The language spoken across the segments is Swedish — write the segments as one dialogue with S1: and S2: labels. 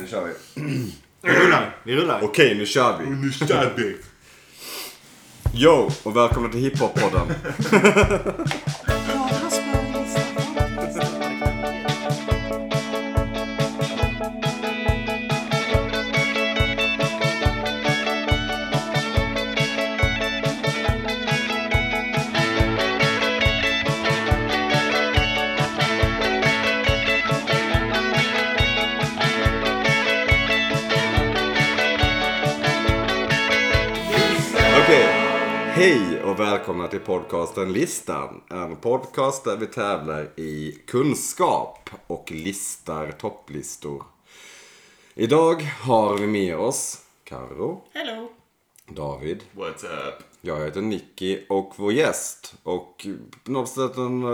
S1: nu kör vi.
S2: Vi rullar. Vi rullar.
S1: Okej, nu kör vi.
S2: Nu kör vi.
S1: Yo, och välkomna till Hiphop-podden. Okej. Hej och välkomna till podcasten Listan. En podcast där vi tävlar i kunskap och listar topplistor. Idag har vi med oss Karo,
S3: Hello.
S1: David,
S2: What's up?
S1: jag heter Nicky och vår gäst och på något sätt en, eh,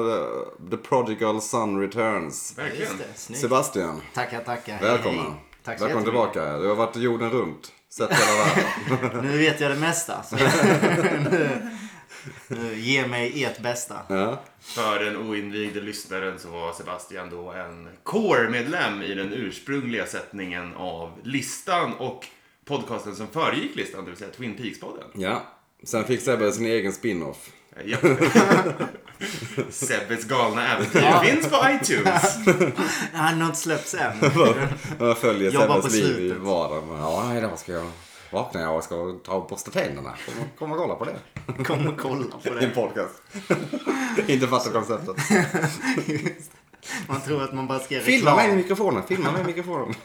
S1: The Prodigal Sun Returns.
S2: Verkligen.
S3: snyggt.
S1: Sebastian,
S3: Tackar, tackar.
S1: välkommen.
S3: Hej. Tack så
S1: välkommen
S3: jättemycket.
S1: tillbaka. Du har varit jorden runt. Sett hela världen.
S3: Nu vet jag det mesta. Så nu, nu, ge mig ert bästa.
S1: Ja.
S2: För den oinvigde lyssnaren så var Sebastian då en core-medlem i den ursprungliga sättningen av listan och podcasten som föregick listan, det vill säga Twin Peaks-podden.
S1: ja. Sen fick Sebbe sin egen spin-off.
S2: Ja. Sebbes galna äventyr
S3: Ja.
S2: finns på iTunes.
S3: Han har inte släppts än.
S1: Jag följer
S3: Jobba på
S1: Sebbes liv i
S3: slutet.
S1: vardagen. Ja, idag ska jag vakna jag och ska ta och borsta tänderna. Kom och- Kom och kolla på det.
S3: Kom och kolla på
S1: I en
S3: det.
S1: podcast. Inte fattar konceptet.
S3: Man tror att man bara ska göra
S1: Filma mig i
S3: reklam.
S1: mikrofonen. Filma mig i mikrofonen.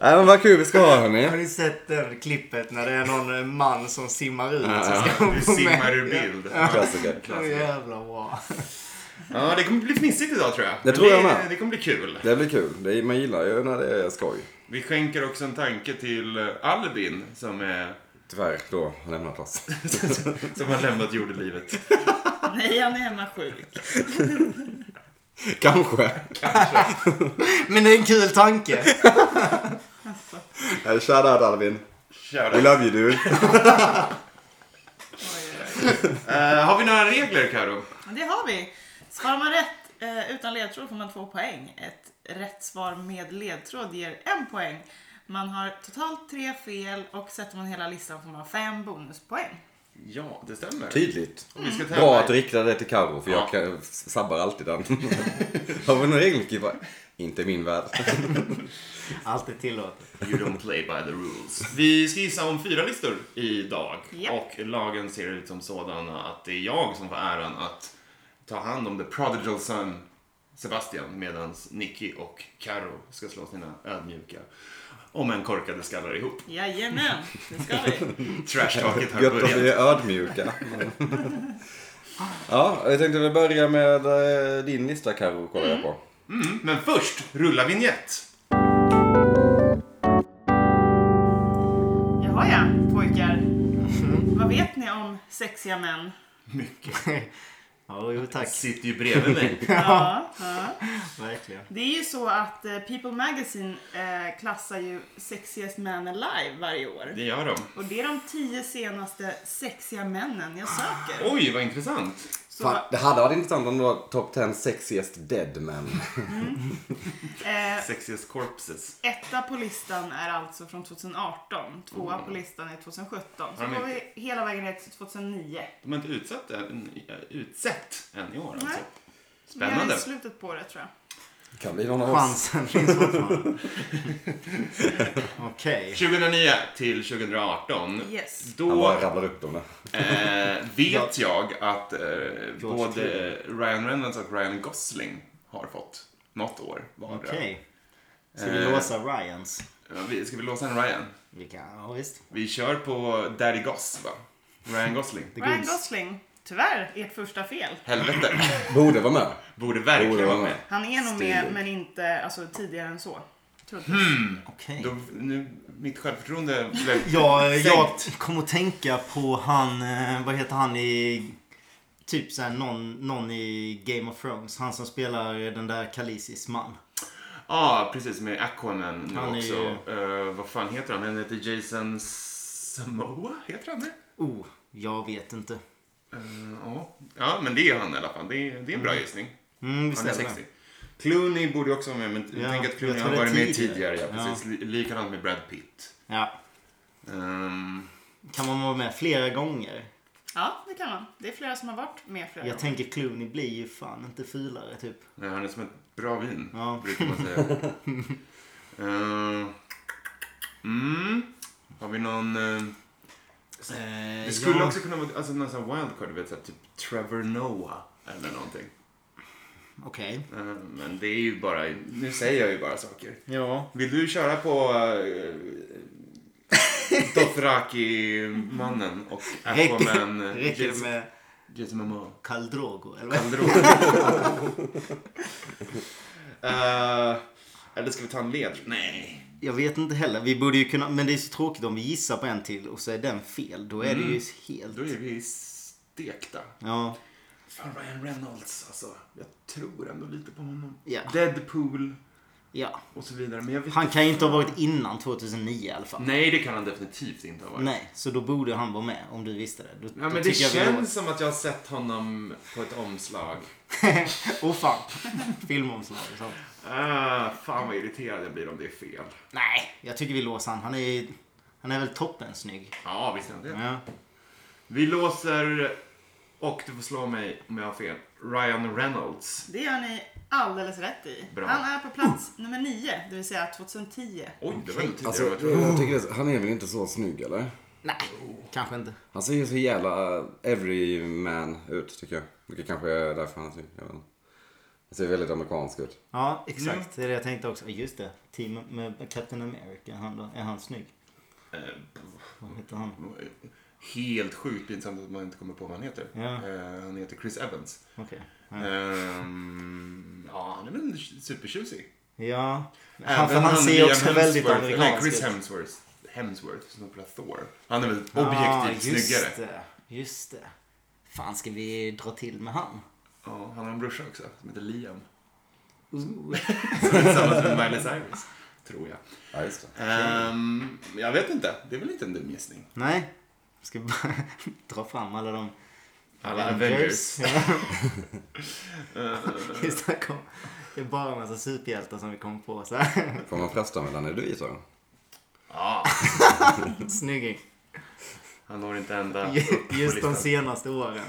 S1: Nej men vad kul vi ska ha
S3: Har
S1: hörni.
S3: ni sett det klippet när det är någon eh, man som simmar ut? Så
S1: Ja,
S3: ska hon
S2: Du
S3: gå med?
S2: simmar alltså. ur bild.
S1: Klassiker.
S3: Så jävla bra.
S2: Ja, det kommer bli fnissigt idag tror jag.
S1: Det
S2: Men
S1: tror jag
S2: det,
S1: med.
S2: Det kommer bli kul.
S1: Det blir kul. Det är, man gillar ju när det är skoj.
S2: Vi skänker också en tanke till eh, Albin som, är,
S1: Tyvärr då har lämnat oss.
S2: som har lämnat jordelivet.
S4: Nej, han är hemma sjuk.
S1: Kanske.
S3: Men det är en kul tanke.
S1: Eh, Shout out Albin.
S2: Kör
S1: We
S2: då.
S1: love you dude.
S2: Eh, har vi några regler Karo?
S4: Men det har vi. Svarar man rätt eh, utan ledtråd får man två poäng. Ett rätt svar med ledtråd ger en poäng. Man har totalt tre fel och sätter man hela listan får man fem bonuspoäng.
S2: Ja, det stämmer.
S1: Tydligt.
S2: Vi ska tävla.
S1: Bra att du riktade det till Karo för
S2: Ja.
S1: jag kan, sabbar alltid den. Har vi någon regelskiva? Inte i min värld.
S3: Alltid tillåtet.
S2: You don't play by the rules. Vi ska gissa om fyra listor idag.
S4: Japp.
S2: Och lagen ser ut som sådana att det är jag som får äran att ta hand om the prodigal son Sebastian medan Nicky och Karo ska slå sina ödmjuka om en korkade skallar ihop.
S4: Jajamän, det ska vi.
S2: Trashtalket har
S1: Gött att vi
S2: börjat.
S1: är ödmjuka. Ja, jag tänkte vi börja med eh, din lista Karo kollar jag på.
S2: Mm, men först, rulla vignett.
S4: Jaha ja, pojkar. Vad vet ni om sexiga män?
S2: Mycket.
S3: Ja, jo tack.
S2: Sitter ju bredvid mig.
S4: Ja, ja.
S3: Verkligen.
S4: Det är ju så att eh, People Magazine eh, klassar ju Sexiest Man Alive varje år.
S2: Det gör de.
S4: Och det är de tio senaste sexiga männen jag söker.
S2: Oj, vad intressant.
S4: Så,
S1: Fan, det hade varit intressant om det var top 10 sexiest dead men.
S4: eh,
S2: Sexiest corpses.
S4: etta på listan är alltså från 2018. Tvåa på listan är 2017. Så
S2: Har de
S4: går vi hela vägen ner till 2009.
S2: De har inte utsatt än, utsett än i år alltså.
S4: Nej. Vi
S2: Spännande.
S4: är i slutet på det tror jag.
S1: Kan bli någon av oss.
S3: Chansen finns fortfarande. Okej.
S2: 2009 till 2018.
S4: Yes.
S1: Han
S2: Då
S1: bara rabblar upp dem där.
S2: eh, vet jag att eh, både
S3: Clooney.
S2: Ryan Reynolds och Ryan Gosling har fått något år vardera.
S3: Okej. Ska vi
S2: Eh.
S3: låsa Ryans?
S2: Ja, vi- Ska vi låsa en Ryan?
S3: Vi kan, ja visst.
S2: Vi kör på Daddy Goss va? Ryan Gosling.
S3: The
S4: Ryan
S3: Goons.
S4: Gosling. Tyvärr, ert första fel.
S2: Helvete.
S1: Borde vara med.
S2: Borde
S1: Borde
S2: verkligen
S1: vara
S2: vara
S1: med.
S2: med.
S4: Han är nog
S1: Stilig.
S4: med, men inte alltså, tidigare än så. Trodde jag.
S3: Hmm. Okej.
S2: Då, nu, mitt självförtroende blev
S3: Jag, jag
S2: sänkt.
S3: kom att tänka på han, eh, vad heter han i... Typ såhär någon, någon i Game of Thrones. Han som spelar den där Khaleesi's man.
S2: Ja, precis. Med Aquaman nu
S3: Han är
S2: också.
S3: ju-
S2: Eh, vad fan heter han? Han heter Jason Samoa, heter han det?
S3: Oh, jag vet inte.
S2: Eh, ja. ja, men det är han i alla fall. Det är, det är en bra gissning.
S3: Mm, vi
S2: Han är
S3: ställer den.
S2: 60. Clooney borde ju också vara med, men jag
S3: Ja,
S2: tänker att Clooney
S3: jag
S2: har
S3: tror det
S2: varit
S3: är
S2: med
S3: tidigare.
S2: tidigare. Ja,
S3: Ja.
S2: precis. Li- Likadant med Brad Pitt.
S3: Ja.
S2: Ehm,
S3: Kan man vara med flera gånger?
S4: Ja, det kan man. Det är flera som har varit med flera
S3: Jag tänker Clooney blir ju fan inte fulare typ.
S2: nej, han är som ett bra vin,
S3: Ja.
S2: brukar man säga. Ehm, mm, har vi någon... eh,
S3: Eh,
S2: Det skulle
S3: jag-
S2: också kunna vara alltså, någon sån här wildcard, du vet, så här, typ Trevor Noah eller någonting.
S3: Okej.
S2: Eh, Men det är ju bara, nu säger jag ju bara saker.
S3: Ja.
S2: Vill du köra på eh, Dothraki-mannen och Aquaman? eh,
S3: Räcker det
S2: Jason-
S3: med
S2: Jason Momoa.
S3: Caldrogo eller? vad?
S2: Kaldro. Eh, Eller ska vi ta en led? Nej.
S3: Jag vet inte heller. Vi borde ju kunna, men det är så tråkigt om vi gissar på en till och så är den fel. Då är det ju helt...
S2: Mm. Då är vi stekta.
S3: Ja.
S2: Fan, Ryan Reynolds alltså. Jag tror ändå lite på honom.
S3: Ja.
S2: Deadpool
S3: ja.
S2: och så vidare. Men jag vet
S3: Han kan ju inte ha varit innan 2009 i alla fall.
S2: Nej, det kan han definitivt inte ha varit.
S3: Nej, så då borde han vara med om du visste det. Då,
S2: Mm. Ja,
S3: då
S2: men det
S3: tycker jag vi-
S2: känns som att jag har sett honom på ett omslag.
S3: Åh fan. Filmomslag och sånt.
S2: Ah, fan vad irriterad jag blir om det är fel.
S3: Nej, jag tycker vi låser han. Han är, han är väl toppen snygg.
S2: Ja, visst är han det.
S3: Ja.
S2: Vi låser, och du får slå mig om jag har fel, Ryan Reynolds.
S4: Det gör ni alldeles rätt i.
S2: Bra.
S4: Han är på plats nummer 9, det vill säga 2010.
S2: Oj, det var lite tidigare
S1: Alltså,
S2: än vad jag
S1: jag,
S2: trodde.
S1: tycker det, är så- han är väl inte så snygg eller?
S3: Nej, kanske inte.
S1: Han ser ju så jävla eh, everyman ut tycker jag. Vilket kanske är därför han är snygg. jag vet inte. Han ser väldigt amerikansk ut.
S3: Ja, exakt. Det är det jag tänkte också. Just det. Team med Captain America. Han då, är han snygg?
S2: Eh,
S3: Vad heter han?
S2: mm. Helt sjukt pinsamt att man inte kommer på vad han heter.
S3: Ja.
S2: Eh, han heter Chris Evans.
S3: Okej.
S2: Ehm, ja, han är väl supertjusig.
S3: Ja.
S2: Även
S3: Han, för han ser
S2: Liam
S3: också väldigt
S2: Hemsworth- Nej,
S3: amerikansk
S2: Chris
S3: ut.
S2: Hemsworth. Hemsworth som spelar Thor. Han är väl objektivt
S3: Ah, just
S2: snyggare.
S3: Det. Just det. Fan, ska vi dra till med han?
S2: Ja, han har en brorsa också som heter Liam.
S3: Ooh.
S2: Tillsammans med Miley Cyrus, tror jag.
S1: Ja, just det.
S2: Ehm, jag vet inte. Det är väl inte en dum gissning.
S3: Nej. Ska vi bara dra fram alla de...
S2: Alla Avengers.
S3: Ja,
S2: Ehm,
S3: just det. Kom. Det är bara en massa superhjältar som vi kommer på så här.
S1: Får man fresta mellan är du i så?
S2: Ja,
S3: Snygging.
S2: han når inte ända upp på
S3: Just de
S2: listan.
S3: senaste åren.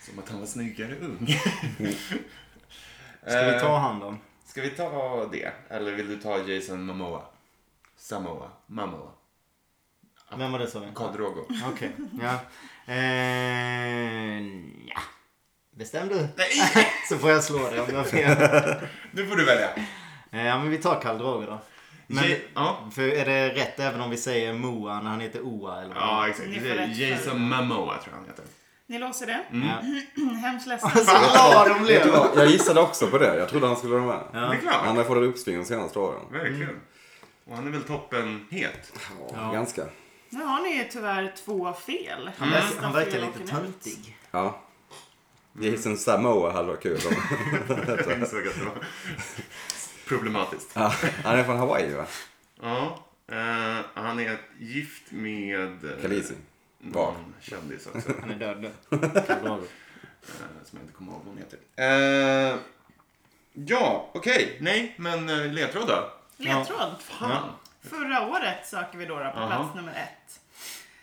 S2: Som att han var snyggare ung. Ehm,
S3: Ska
S2: Eh,
S3: vi ta hand om?
S2: Ska vi ta det? Eller vill du ta Jason Momoa? Samoa? Mamoa?
S3: Vem var det sa vi?
S2: Kadrogo?
S3: Okej, ja. Eh, ja. Bestäm du.
S2: Nej!
S3: Så får jag slå dig om du har fel.
S2: Nu får du välja.
S3: Eh, Ja, men vi tar Karl Drogo då. Men,
S2: Ja- ja.
S3: för är det rätt även om vi säger Moa när han heter Oa eller vad?
S2: Ja, exakt.
S4: Ni får rätt för-
S2: Jason Momoa tror jag han heter.
S4: Ni låser det?
S3: Ja.
S4: Hemskt ledsen.
S3: Så glad de
S1: Vet du
S3: blev!
S1: vad? Jag gissade också på det. Jag trodde han skulle vara med.
S2: Det är
S1: Han
S2: klart.
S1: har fått ett uppsving de senaste åren.
S2: Verkligen. Och han är väl toppen het.
S1: Ja. Ganska.
S4: Nu har ni ju tyvärr två fel.
S3: Han verkar,
S4: Nästa
S3: han verkar
S4: fel
S3: lite
S4: åker ni ut.
S3: töntig.
S1: Ja. Jason Samoa hade varit kul. om-
S2: Jag insåg att det var problematiskt.
S1: Ja, han är från Hawaii va?
S2: Ja. eh, han är gift med... eh,
S1: Khaleesi. Var.
S2: någon Kändis också.
S3: Han är död nu. Karl Drogo.
S2: eh, som jag inte kommer ihåg vad hon heter. Eh, ja, okej. Nej, men uh, ledtråd då?
S4: Ledtråd.
S2: Fan.
S4: Förra året söker vi då på
S2: Aha.
S4: plats nummer ett.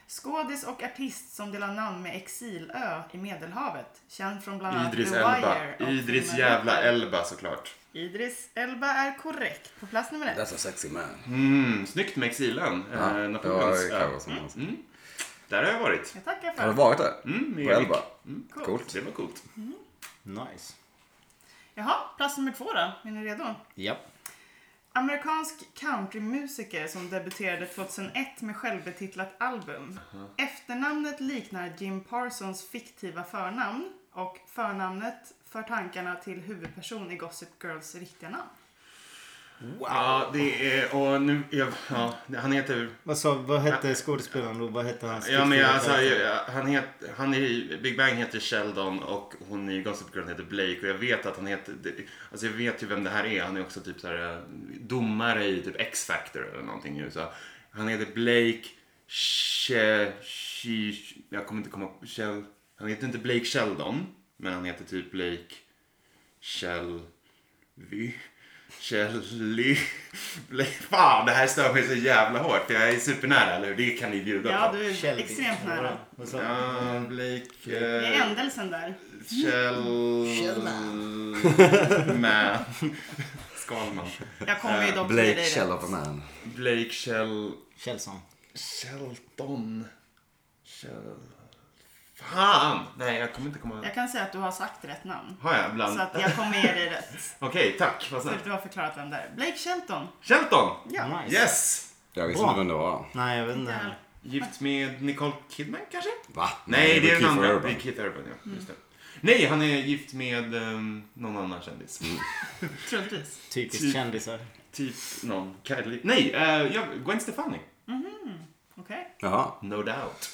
S4: Skådis och artist som delar namn med Exilö i Medelhavet. Känd från bland annat
S2: Idris
S4: The
S2: Elba.
S4: Wire. Ah, och
S2: Idris
S4: filmen
S2: jävla
S4: Ripper.
S2: Elba såklart.
S4: Idris Elba är korrekt på plats nummer ett.
S1: a sexy man.
S2: Mm, snyggt med exilen.
S1: Ja,
S2: eh,
S1: det var
S2: Napoleons
S1: ju
S2: ö.
S1: kanske som han sa.
S2: Mm. Där har jag varit.
S4: Jag tackar för
S1: Har du
S4: det.
S1: varit där?
S2: Mm, med
S1: På
S2: Erik.
S1: Elba?
S4: Coolt.
S1: Coolt.
S2: Det var coolt.
S3: Nice.
S4: Jaha, plats nummer två då. Är ni redo?
S3: Japp.
S4: Amerikansk countrymusiker som debuterade 2001 med självbetitlat album. Efternamnet liknar Jim Parsons fiktiva förnamn och förnamnet för tankarna till huvudperson i Gossip Girls riktiga namn.
S2: Ja, det är... Och nu... Jag, ja, han heter...
S3: Vad, sa, vad hette skådespelaren då? Vad hette hans
S2: Ja, men jag, alltså,
S3: karaktär?
S2: jag, han, heter, han i Big Bang heter Sheldon och hon i Gossip Girl heter Blake och jag vet att han heter, det- alltså jag vet ju vem det här är. Han är också typ så här eh, domare i typ X-Factor eller någonting i USA. Han heter Blake She, She, jag kommer inte komma på, Shel, han heter inte Blake Sheldon, men han heter typ Blake Kjell... Vi... Kjelly... Blä- Fan, det här stör mig så jävla hårt. För jag är supernära, eller hur? Det kan ni bjuda
S4: Ja,
S2: på.
S4: du är extremt nära.
S3: Vad sa du?
S2: Ja, Blake...
S4: Det
S2: eh,
S4: är ändelsen där.
S2: Kjell...
S3: Kjellman.
S2: Man. Skalman.
S4: Jag kommer ju dock till
S1: Blake
S4: dig.
S1: Shell
S4: där.
S1: of a Man.
S2: Blake Kjell...
S3: Kjellson.
S2: Shelton. Kjell... Fan! Nej, jag kommer inte komma...
S4: Jag kan säga att du har sagt rätt namn.
S2: Har jag bland...
S4: Så att jag kommer ge dig rätt.
S2: Okej, tack. Vad
S4: Så
S2: snällt.
S4: att du har förklarat vem det är. Blake Shelton.
S2: Shelton!
S4: Ja.
S3: Nice.
S2: Yes!
S1: Jag visste
S3: Bra.
S1: inte vem det var.
S3: Nej, jag vet inte. heller.
S2: Gift med Nicole Kidman kanske?
S1: Va?
S2: Nej, det är den
S1: Keith
S2: andra.
S1: Urban.
S2: Det är Keith Urban, ja.
S4: Mm.
S2: Just det. Nej, han är gift med ehm, någon annan kändis.
S4: Troligtvis.
S3: Typiskt kändisar.
S2: Typ någon Kylie. Nej, eh, ja, Gwen Stefani.
S4: Okej,
S1: Jaha,
S2: No doubt.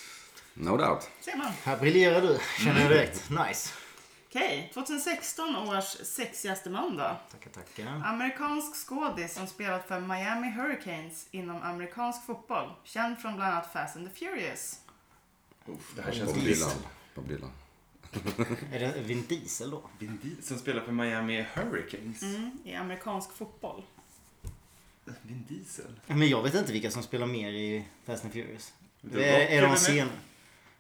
S1: no doubt.
S4: ser man.
S3: Här briljerar du, känner jag direkt. Nice.
S4: Okej, 2016 års sexigaste man då?
S3: Tackar, tackar.
S4: Amerikansk skådis som spelat för Miami Hurricanes inom amerikansk fotboll. Känd från bland annat Fast and the Furious.
S2: Uff, det här känns
S1: Bob Dylan. Bob Dylan.
S3: Är det Vin Diesel då?
S2: Vin Diesel som spelar för Miami Hurricanes.
S4: Mm, I amerikansk fotboll.
S2: Vin Diesel.
S3: Men jag vet inte vilka som spelar mer i Fast and Furious.
S2: Det
S3: Det är,
S2: var
S3: är de
S2: Kevin
S3: sen?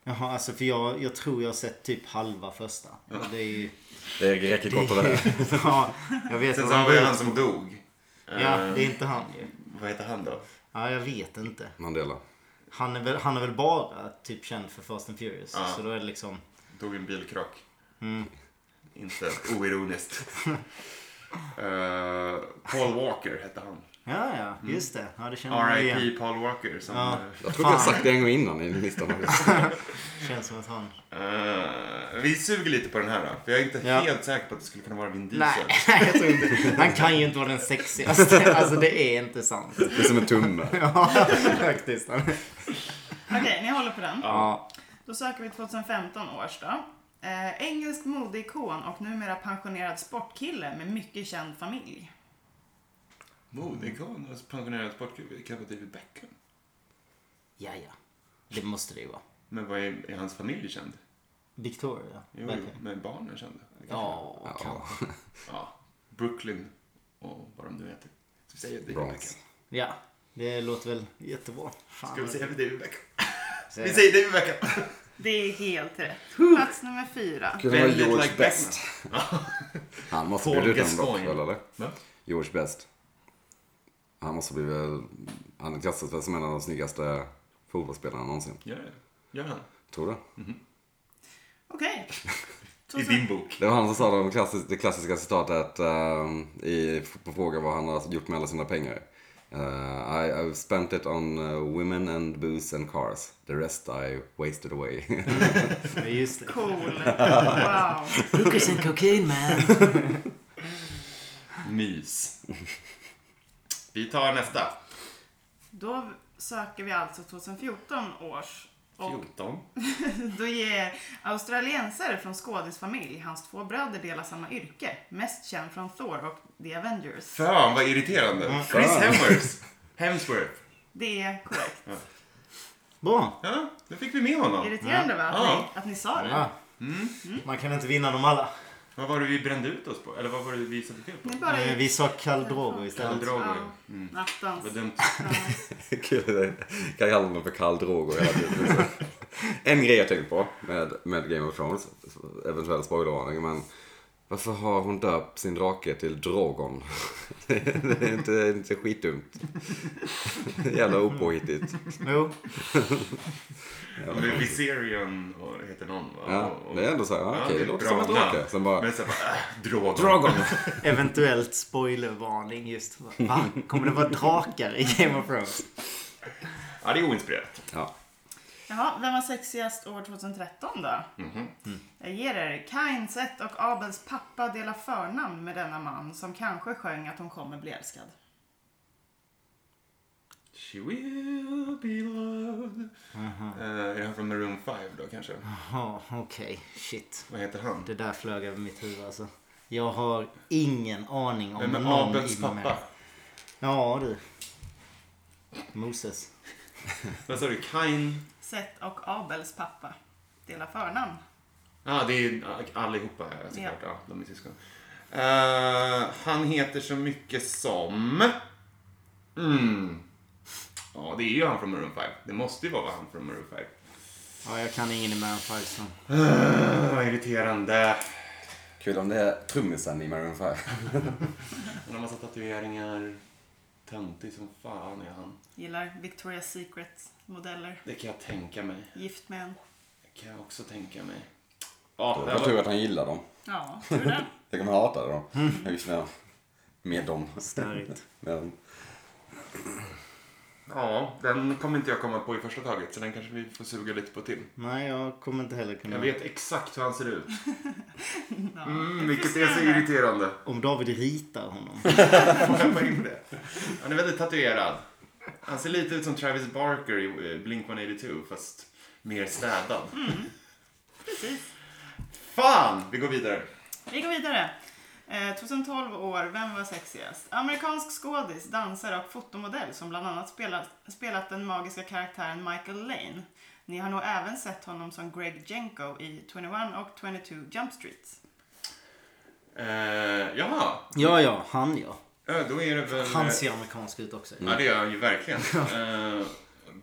S3: Jaha, alltså för jag, jag tror jag har sett typ halva första. Det är ju...
S1: Det räcker kort över det.
S3: Ja, jag vet
S2: Sen
S3: vad
S2: så
S3: han
S2: har vi
S3: går
S2: han
S3: ut
S2: som dog.
S3: på. Ja,
S2: Ehm,
S3: det är inte han ju.
S2: Vad heter han då?
S3: Ja, jag vet inte.
S1: Mandela.
S3: Han är väl, han är väl bara typ känd för Fast and Furious.
S2: Ja.
S3: Så då är det liksom...
S2: Dog i en bilkrock.
S3: Mm.
S2: Inte oironiskt. Eh, Paul Walker hette han.
S3: Ja, ja,
S2: Mm.
S3: just det. Ja, det känner man igen.
S2: R.I.P. Paul Walker som...
S3: Ja.
S1: Jag tror jag har sagt det en gång innan i listan.
S3: Känns som att han...
S2: Eh, vi suger lite på den här då. För jag är inte
S3: Ja.
S2: helt säker på att det skulle kunna vara Vin Diesel.
S3: Nej, jag tror inte. Han kan ju inte vara den sexigaste. Alltså det är inte sant.
S1: Det är som en tumme.
S3: Ja, faktiskt.
S4: Okej, ni håller på den.
S3: Ja.
S4: Då söker vi 2015 års då. Eh, engelsk modeikon och numera pensionerad sportkille med mycket känd familj.
S2: Modeikon och pensionerad sportklubb. Kan vara David Beckham.
S3: Ja, ja. Det måste det ju vara.
S2: Men vad är, är hans familj känd?
S3: Victoria.
S2: Jo,
S3: verkligen.
S2: men barnen kända. Det kanske är.
S3: Ja,
S1: Ja.
S3: kanske.
S2: ja. Brooklyn och vad de nu heter. Så vi säger David
S1: Bronx.
S2: Beckham.
S3: Ja, det låter väl jättebra. Fan.
S2: Ska vi säga David Beckham?
S3: Säg
S2: Vi
S3: det.
S2: säger David Beckham.
S4: Det är helt rätt. Plats nummer fyra.
S1: Skulle vara
S2: Väldigt
S1: George
S2: like
S1: Best. Han måste
S2: Paul
S1: bli den dock,
S2: Gascoigne.
S1: eller?
S2: Va?
S1: George Best. Han måste bli väl... Han klassas väl som en av de snyggaste fotbollsspelarna någonsin.
S2: Gör det. Gör han.
S1: Tror du?
S4: Okej.
S2: I
S4: 2000
S2: din bok.
S1: Det var han som sa de klassiska, det klassiska citatet ehm, i, på fråga vad han har gjort med alla sina pengar. Eh, I, I've spent it on eh, women and booze and cars. The rest I wasted away.
S3: Ja, Just det.
S4: Cool. Wow.
S3: Hookers and cocaine man.
S2: Mys. Vi tar nästa.
S4: Då söker vi alltså 2014 års. Och
S2: 14.
S4: då ger australiensare från skådisfamilj, hans två bröder delar samma yrke. Mest känd från Thor och The Avengers.
S2: Fan vad irriterande.
S1: Mm.
S2: Chris
S1: Fan.
S2: Hemsworth. Hemsworth.
S4: Det är korrekt.
S3: Bra.
S2: Ja, då fick vi med honom.
S4: Irriterande va? Att
S2: Ja.
S4: ni, att ni sa det.
S3: Ja. Man kan inte vinna dem alla.
S2: Vad var det vi brände ut oss på? Eller vad var det vi satte fel på?
S4: Ni bara
S3: Eh,
S4: gick...
S3: Vi sa Caldrogo istället.
S2: Kaldrogo.
S4: Ja. Attans.
S2: Vad dumt.
S1: Kul, kan kalla honom för Karl Drogo hela tiden. liksom. En grej jag tänkt på med, med Game of Thrones, eventuell spoilervarning, men varför har hon döpt sin drake till Drogon? Det är inte, det är inte skitdumt. Jävla opåhittigt.
S3: Jo.
S2: Med Viserion och heter någon va?
S1: Ja,
S2: och, och,
S1: det är ändå så här, okej, det
S2: är
S1: låter
S2: bra
S1: som en
S2: namn.
S1: drake. Sen bara,
S2: Men sen bara, äh, Drogon.
S1: Drogon!
S3: Eventuellt spoilervarning just. Va? Kommer det vara drakar i Game of Thrones?
S2: Ja, det är oinspirerat.
S1: Ja,
S4: Jaha, vem var sexigast år 2013 då? Jag ger er Kainset och Abels pappa delar förnamn med denna man som kanske sjöng att hon kommer bli älskad.
S2: She will be loved. Eh, är det här från Maroon 5 då kanske?
S3: Ja, okej. Shit.
S2: Vad heter han?
S3: Det där flög över mitt huvud alltså. Jag har ingen aning om
S2: Vem är
S3: någon
S2: Abels
S3: i Mamma.
S2: pappa?
S3: Ja du. Moses.
S2: Vad sa du? Kain?
S4: Seth och Abels pappa delar förnamn.
S2: Ja, ah, det är allihopa såklart.
S4: Ja.
S2: Ja. de är syskon. Eh, han heter så mycket som... Mm. Ja, det är ju han från Maroon 5. Det måste ju vara han från Maroon 5.
S3: Ja, jag kan ingen i Maroon 5 så.
S2: Ah, vad irriterande.
S1: Kul om det är trummisen i Maroon 5.
S2: Han har massa tatueringar. Töntig som fan är han.
S4: Gillar Victoria's Secret-modeller.
S2: Det kan jag tänka mig.
S4: Gift med en.
S2: Det kan jag också tänka mig. Ja, det
S1: Jag
S2: var...
S1: tror att han gillar dem.
S4: Ja, tror du det?
S1: Jag kommer hata dem. Jag visste det. Med dem.
S3: Störigt.
S1: Med dem.
S2: ja, den kommer inte jag komma på i första taget. Så den kanske vi får suga lite på till.
S3: Nej, jag kommer inte heller kunna.
S2: Jag vet exakt hur han ser ut.
S4: Ja,
S2: Mm,
S4: det
S2: vilket är så
S4: frustrerande.
S2: irriterande.
S3: Om David ritar honom.
S2: Får jag få in det? Han är väldigt tatuerad. Han ser lite ut som Travis Barker i eh, Blink-182 fast mer städad.
S4: Precis.
S2: Fan! Vi går vidare.
S4: Vi går vidare. Eh, 2012 år, vem var sexigast? Amerikansk skådis, dansare och fotomodell som bland annat spelat, spelat den magiska karaktären Michael Lane. Ni har nog även sett honom som Greg Jenko i 21 och 22 Jump Street.
S2: Uh, jaha,
S3: Ja, ja, han ja.
S2: Eh, då är det väl...
S3: Han ser amerikansk ut också.
S2: Ja, det gör han ju verkligen. Eh,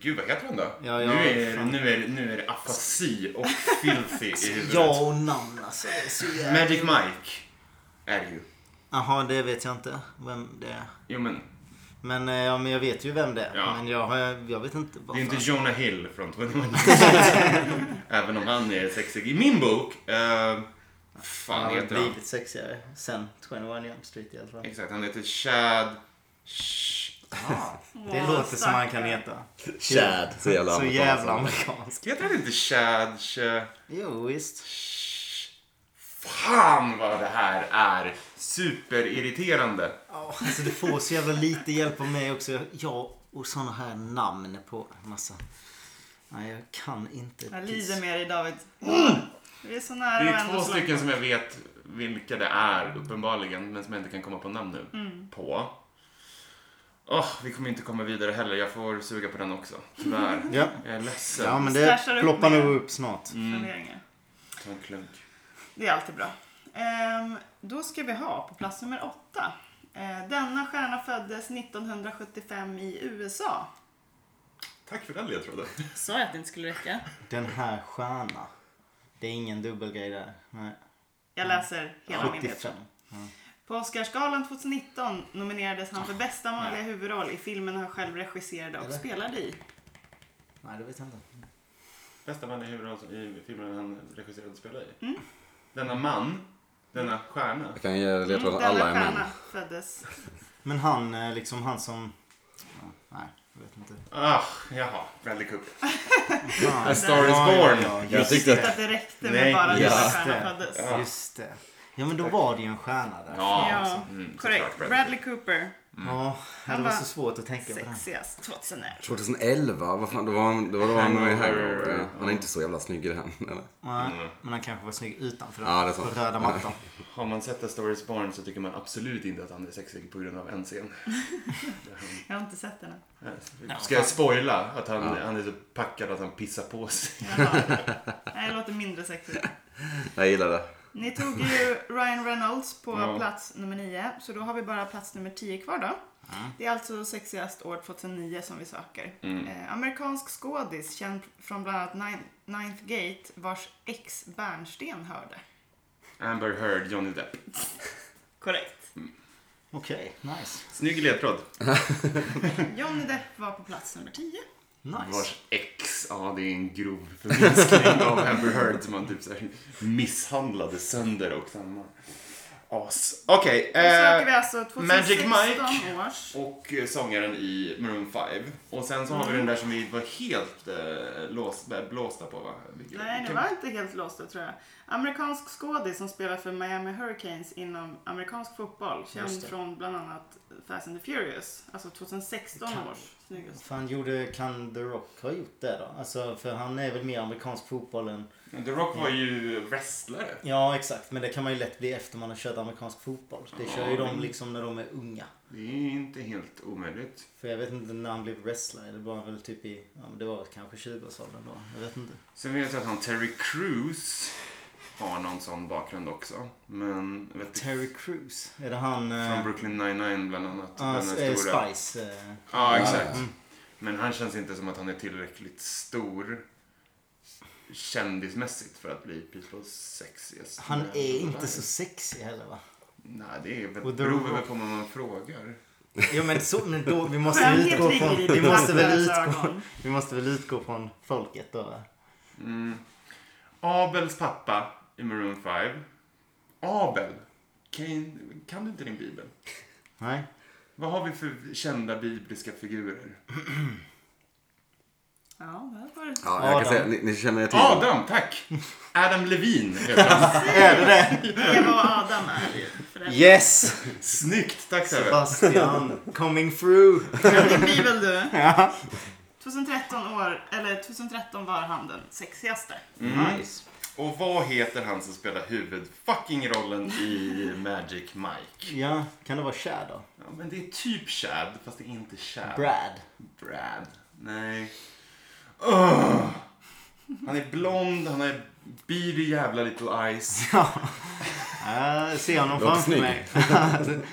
S2: gud, vad heter han då?
S3: Ja, ja,
S2: nu, är,
S3: fan.
S2: nu, är, nu är det afasi och filthy i huvudet.
S3: Ja och namn alltså. det är så jävla-
S2: Magic Mike är det ju.
S3: Jaha, det vet jag inte vem det är.
S2: Jo, men
S3: Men, eh, ja, men jag vet ju vem det är.
S2: Ja.
S3: Men jag, har- jag vet inte
S2: Det
S3: varför.
S2: är inte Jonah Hill från 21 Även om han är sexig i min bok. Eh, fan
S3: Han har
S2: heter han?
S3: blivit sexigare sen 21 Jump Street i alla fall.
S2: Exakt, han heter Chad... Sh-
S3: Det låter som han kan heta.
S1: Chad. Så jävla
S3: Så
S1: amerikansk.
S3: jävla amerikansk.
S2: Heter han inte Chad... Sh-
S3: Jo, visst.
S2: Sh- Fan vad det här är superirriterande.
S3: Ja, Alltså du får så jävla lite hjälp av mig också. Jag och såna här namn på massa. Nej, jag kan inte.
S4: Jag
S3: piss.
S4: lider med dig David.
S3: Mm.
S4: Vi är så nära
S2: Det är
S4: varandra
S2: två
S4: så
S2: stycken som jag vet vilka det är uppenbarligen, men som jag inte kan komma på namn nu.
S3: Mm.
S2: På. Åh, vi kommer inte komma vidare heller. Jag får suga på den också. Tyvärr.
S3: Ja.
S2: Jag är ledsen.
S3: ja, men
S4: Stashar
S3: det
S4: upp
S3: ploppar
S4: mer.
S3: nog upp snart.
S4: långt. Funderingar.
S2: Ta en klunk.
S4: Det är alltid bra. Ehm, då ska vi ha på plats nummer åtta. Eh, denna stjärna föddes 1975 i USA.
S2: Tack för den ledtråden.
S4: Sa jag att det inte skulle räcka?
S3: Den här stjärna. Det är ingen dubbelgrej där. Nej.
S4: Jag läser hela min
S3: 75.
S4: ledtråd. På Oscarsgalan 2019 nominerades
S2: Ah.
S4: han för bästa manliga huvudroll i filmen han själv regisserade och
S3: Eller?
S4: spelade i.
S3: Nej, det vet jag inte.
S2: Bästa man i huvudrollen i filmen han regisserade och spelade i.
S3: Mm.
S2: Denna man, denna stjärna.
S1: Jag kan ge
S4: Mm,
S1: ledtråden
S4: denna
S1: alla är
S4: stjärna
S1: män.
S4: föddes.
S3: Men han, eh, liksom han som... Ja, nej, jag vet inte.
S2: Ah, jaha. Bradley Cooper.
S3: Fan.
S2: A Star is
S3: Ja, ja,
S2: Born.
S3: ja, just
S1: Jag tyckte
S4: Att
S1: att...
S4: det räckte med
S2: Nej,
S4: bara
S2: just
S4: denna
S3: Just
S4: stjärna
S3: det.
S4: föddes.
S2: Ja.
S3: Just det. Ja men då var det ju en stjärna där.
S2: Ja,
S4: Ja,
S1: alltså,
S2: mm, såklart
S4: korrekt.
S2: Bradley.
S4: Bradley Cooper,
S1: Mm.
S3: Ja, det var så svårt att tänka på den.
S4: sexigast 2011.
S1: 2011, vad fan, det var, han- det var då han var i
S2: Hangover,
S1: Hangover. ja.
S2: ja.
S1: Han är inte så jävla snygg i den, eller?
S3: Nej, Men han kanske var snygg utanför den.
S1: Ja, det är sant.
S3: på röda mattan.
S2: Mm. Har man sett A Star is Born så tycker man absolut inte att han är sexig på grund av en scen.
S4: Jag har inte sett den än.
S2: typ. Ska jag spoila att han, han är så packad att han pissar på sig?
S4: Jaha. Nej, det låter mindre sexigt.
S1: Jag gillar det.
S4: Ni tog ju Ryan Reynolds på
S2: Ja.
S4: plats nummer 9, så då har vi bara plats nummer 10 kvar då.
S2: Mm.
S4: Det är alltså sexigast år 2009 som vi söker. Eh, amerikansk skådis känd från bland annat Nin- Ninth Gate vars ex Bernsten hörde.
S2: Amber Heard, Johnny Depp.
S4: Korrekt.
S3: Okej, nice.
S2: Snygg ledtråd.
S4: Johnny Depp var på plats nummer 10.
S3: Nice.
S2: Vars ex, ja det är en grov förminskning av Amber Heard som han typ så här misshandlade sönder och samman. As. Okej.
S4: Då söker vi
S2: eh,
S4: alltså 2016
S2: Magic
S4: års.
S2: och eh, sångaren i Maroon 5. Och sen så har vi den där som vi var helt eh, låst, eh, blåsta på va? Vilken-
S4: Nej, det
S2: kan-
S4: var inte helt låsta tror jag. Amerikansk skådis som spelar för Miami Hurricanes inom amerikansk fotboll.
S2: Just
S4: Känd
S2: det.
S4: från bland annat Fast and the Furious. Alltså 2016
S3: Kan-
S4: års snyggaste.
S3: Fan, gjorde, kan The Rock ha gjort det då? Alltså, för han är väl mer amerikansk fotboll än...
S2: The Rock var ju wrestlare.
S3: Ja, exakt. Men det kan man ju lätt bli efter man har kört amerikansk fotboll. Det kör ju de liksom när de är unga.
S2: Det är inte helt omöjligt.
S3: För jag vet inte när han blev wrestler. Det var väl typ i... Ja, men det var kanske 20-årsåldern då. Jag vet inte.
S2: Sen vet jag att han Terry Crews har någon sån bakgrund också. Men jag vet inte,
S3: Terry Crews. Är det han... eh,
S2: från Brooklyn 99 bland annat.
S3: ah,
S2: den här
S3: eh,
S2: stora-
S3: Spice. eh.
S2: Ja, exakt.
S1: Mm.
S2: Men han känns inte som att han är tillräckligt stor kändismässigt för att bli People's sexiest.
S3: Han
S2: man
S3: är
S2: alive.
S3: inte så sexig heller va?
S2: Nej, det är väl,
S3: Och The
S2: beror
S3: Rock.
S2: väl på vad man frågar.
S3: Jo men, så, men då, vi måste
S4: Skönhet
S3: utgå från...
S4: ligger i
S3: Vi måste, väl
S4: betraktaren
S3: utgå,
S4: ögon.
S3: vi måste väl utgå från folket då va?
S2: Abels pappa i Maroon 5. Abel. Kan, kan du inte din bibel?
S3: Nej?
S2: Vad har vi för kända bibliska figurer?
S4: Ja, där var det.
S1: Ja, jag kan
S3: Adam.
S1: säga, ni, ni känner till
S2: Adam, tack! Adam Levin heter han.
S4: Eva och Adam är det ju. För det
S3: Yes!
S2: Snyggt, tack Sebbe.
S3: Sebastian, coming through!
S4: är din bibel du. 2013, år, eller 2013 var han den sexigaste.
S3: Nice.
S2: Och vad heter han som spelar huvud-fucking-rollen i Magic Mike?
S3: Ja, kan det vara Chad då?
S2: Ja, men det är typ Chad, fast det är inte Chad.
S3: Brad.
S2: Brad. Nej. Ugh. Han är blond, han är beady jävla little eyes.
S3: Ja, jag ser honom
S1: Låter
S3: framför
S1: snygg.
S3: mig.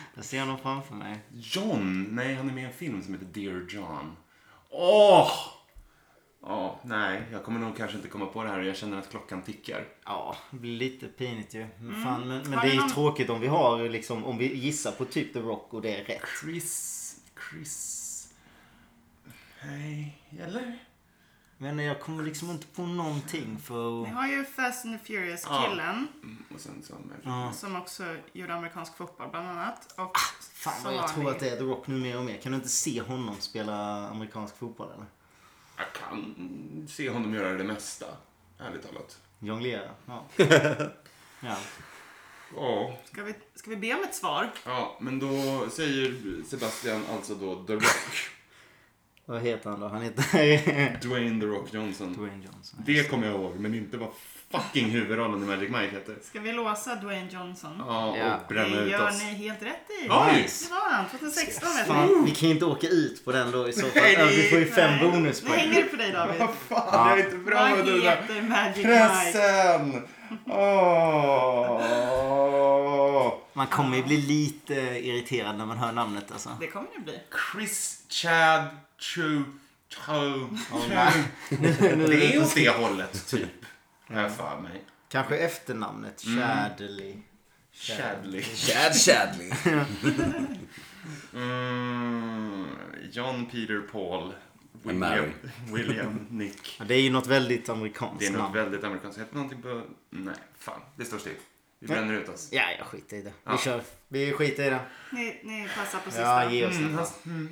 S3: jag ser honom framför mig.
S2: John? Nej, han är med i en film som heter Dear John. Åh! Ja, nej, jag kommer nog kanske inte komma på det här och jag känner att klockan tickar.
S3: Ja, det blir lite pinigt ju. Men, fan, men, men
S4: Mm. Har
S3: det
S4: vi
S3: är ju
S4: någon-
S3: tråkigt om vi har liksom, om vi gissar på typ The Rock och det är rätt.
S2: Chris... Chris... Nej, eller?
S3: Men jag kommer liksom inte på någonting för...
S4: Ni har ju Fast and the Furious-killen
S2: Mm, Och sen så har han-
S3: Ja. Ah,
S4: som också gjorde amerikansk fotboll bland annat. Och
S3: Fan
S4: så
S3: vad jag
S4: har
S3: tror
S4: ni-
S3: att det är The Rock nu mer och mer. Kan du inte se honom spela amerikansk fotboll eller?
S2: Jag kan se honom göra det mesta, ärligt talat.
S3: Jonglera? Ja. ja.
S2: Ja,
S4: Ska vi, ska vi be om ett svar?
S2: ja, men då säger Sebastian alltså då The Rock.
S3: Vad heter han då? Han heter...
S2: Dwayne The Rock Johnson.
S3: Dwayne Johnson.
S2: Det kommer jag ihåg, men inte vad fucking huvudrollen i Magic Mike heter.
S4: Ska vi låsa Dwayne Johnson?
S2: Ja,
S3: Ja.
S2: och bränna
S4: Det
S2: ut
S4: gör
S2: oss.
S4: ni helt rätt i.
S2: Oj!
S4: Det var han, 2016 vet du.
S3: Fan, vi kan ju inte åka ut på den då i så fall.
S2: Nej,
S3: Ja, vi får ju fem
S4: Nej. Nu
S3: bonuspoäng.
S4: hänger det på dig David.
S2: Vad fan, jag är inte bra
S4: Vad
S2: med den där
S4: heter Magic Mike?
S2: pressen! Åh!
S3: Man kommer ju bli lite eh, irriterad när man hör namnet alltså.
S4: Det kommer det bli.
S2: Chris Chad Chu Cho Det är åt det hållet, typ. Har jag för mig.
S3: Kanske efternamnet Chadley.
S2: Chadley.
S1: Chad Chadley.
S2: Mm, John Peter Paul. William,
S1: Mary.
S2: William Nick.
S3: Ja, det är ju något väldigt amerikanskt
S2: Det är något
S3: namn.
S2: väldigt amerikanskt. Heter någonting på... Nej, fan. Det står still. Vi bränner ut oss.
S3: Ja, jag skiter i det. Vi kör. Vi skiter i det.
S4: Ni, ni passar på sista. Mm,
S3: Ja, ge oss den. då.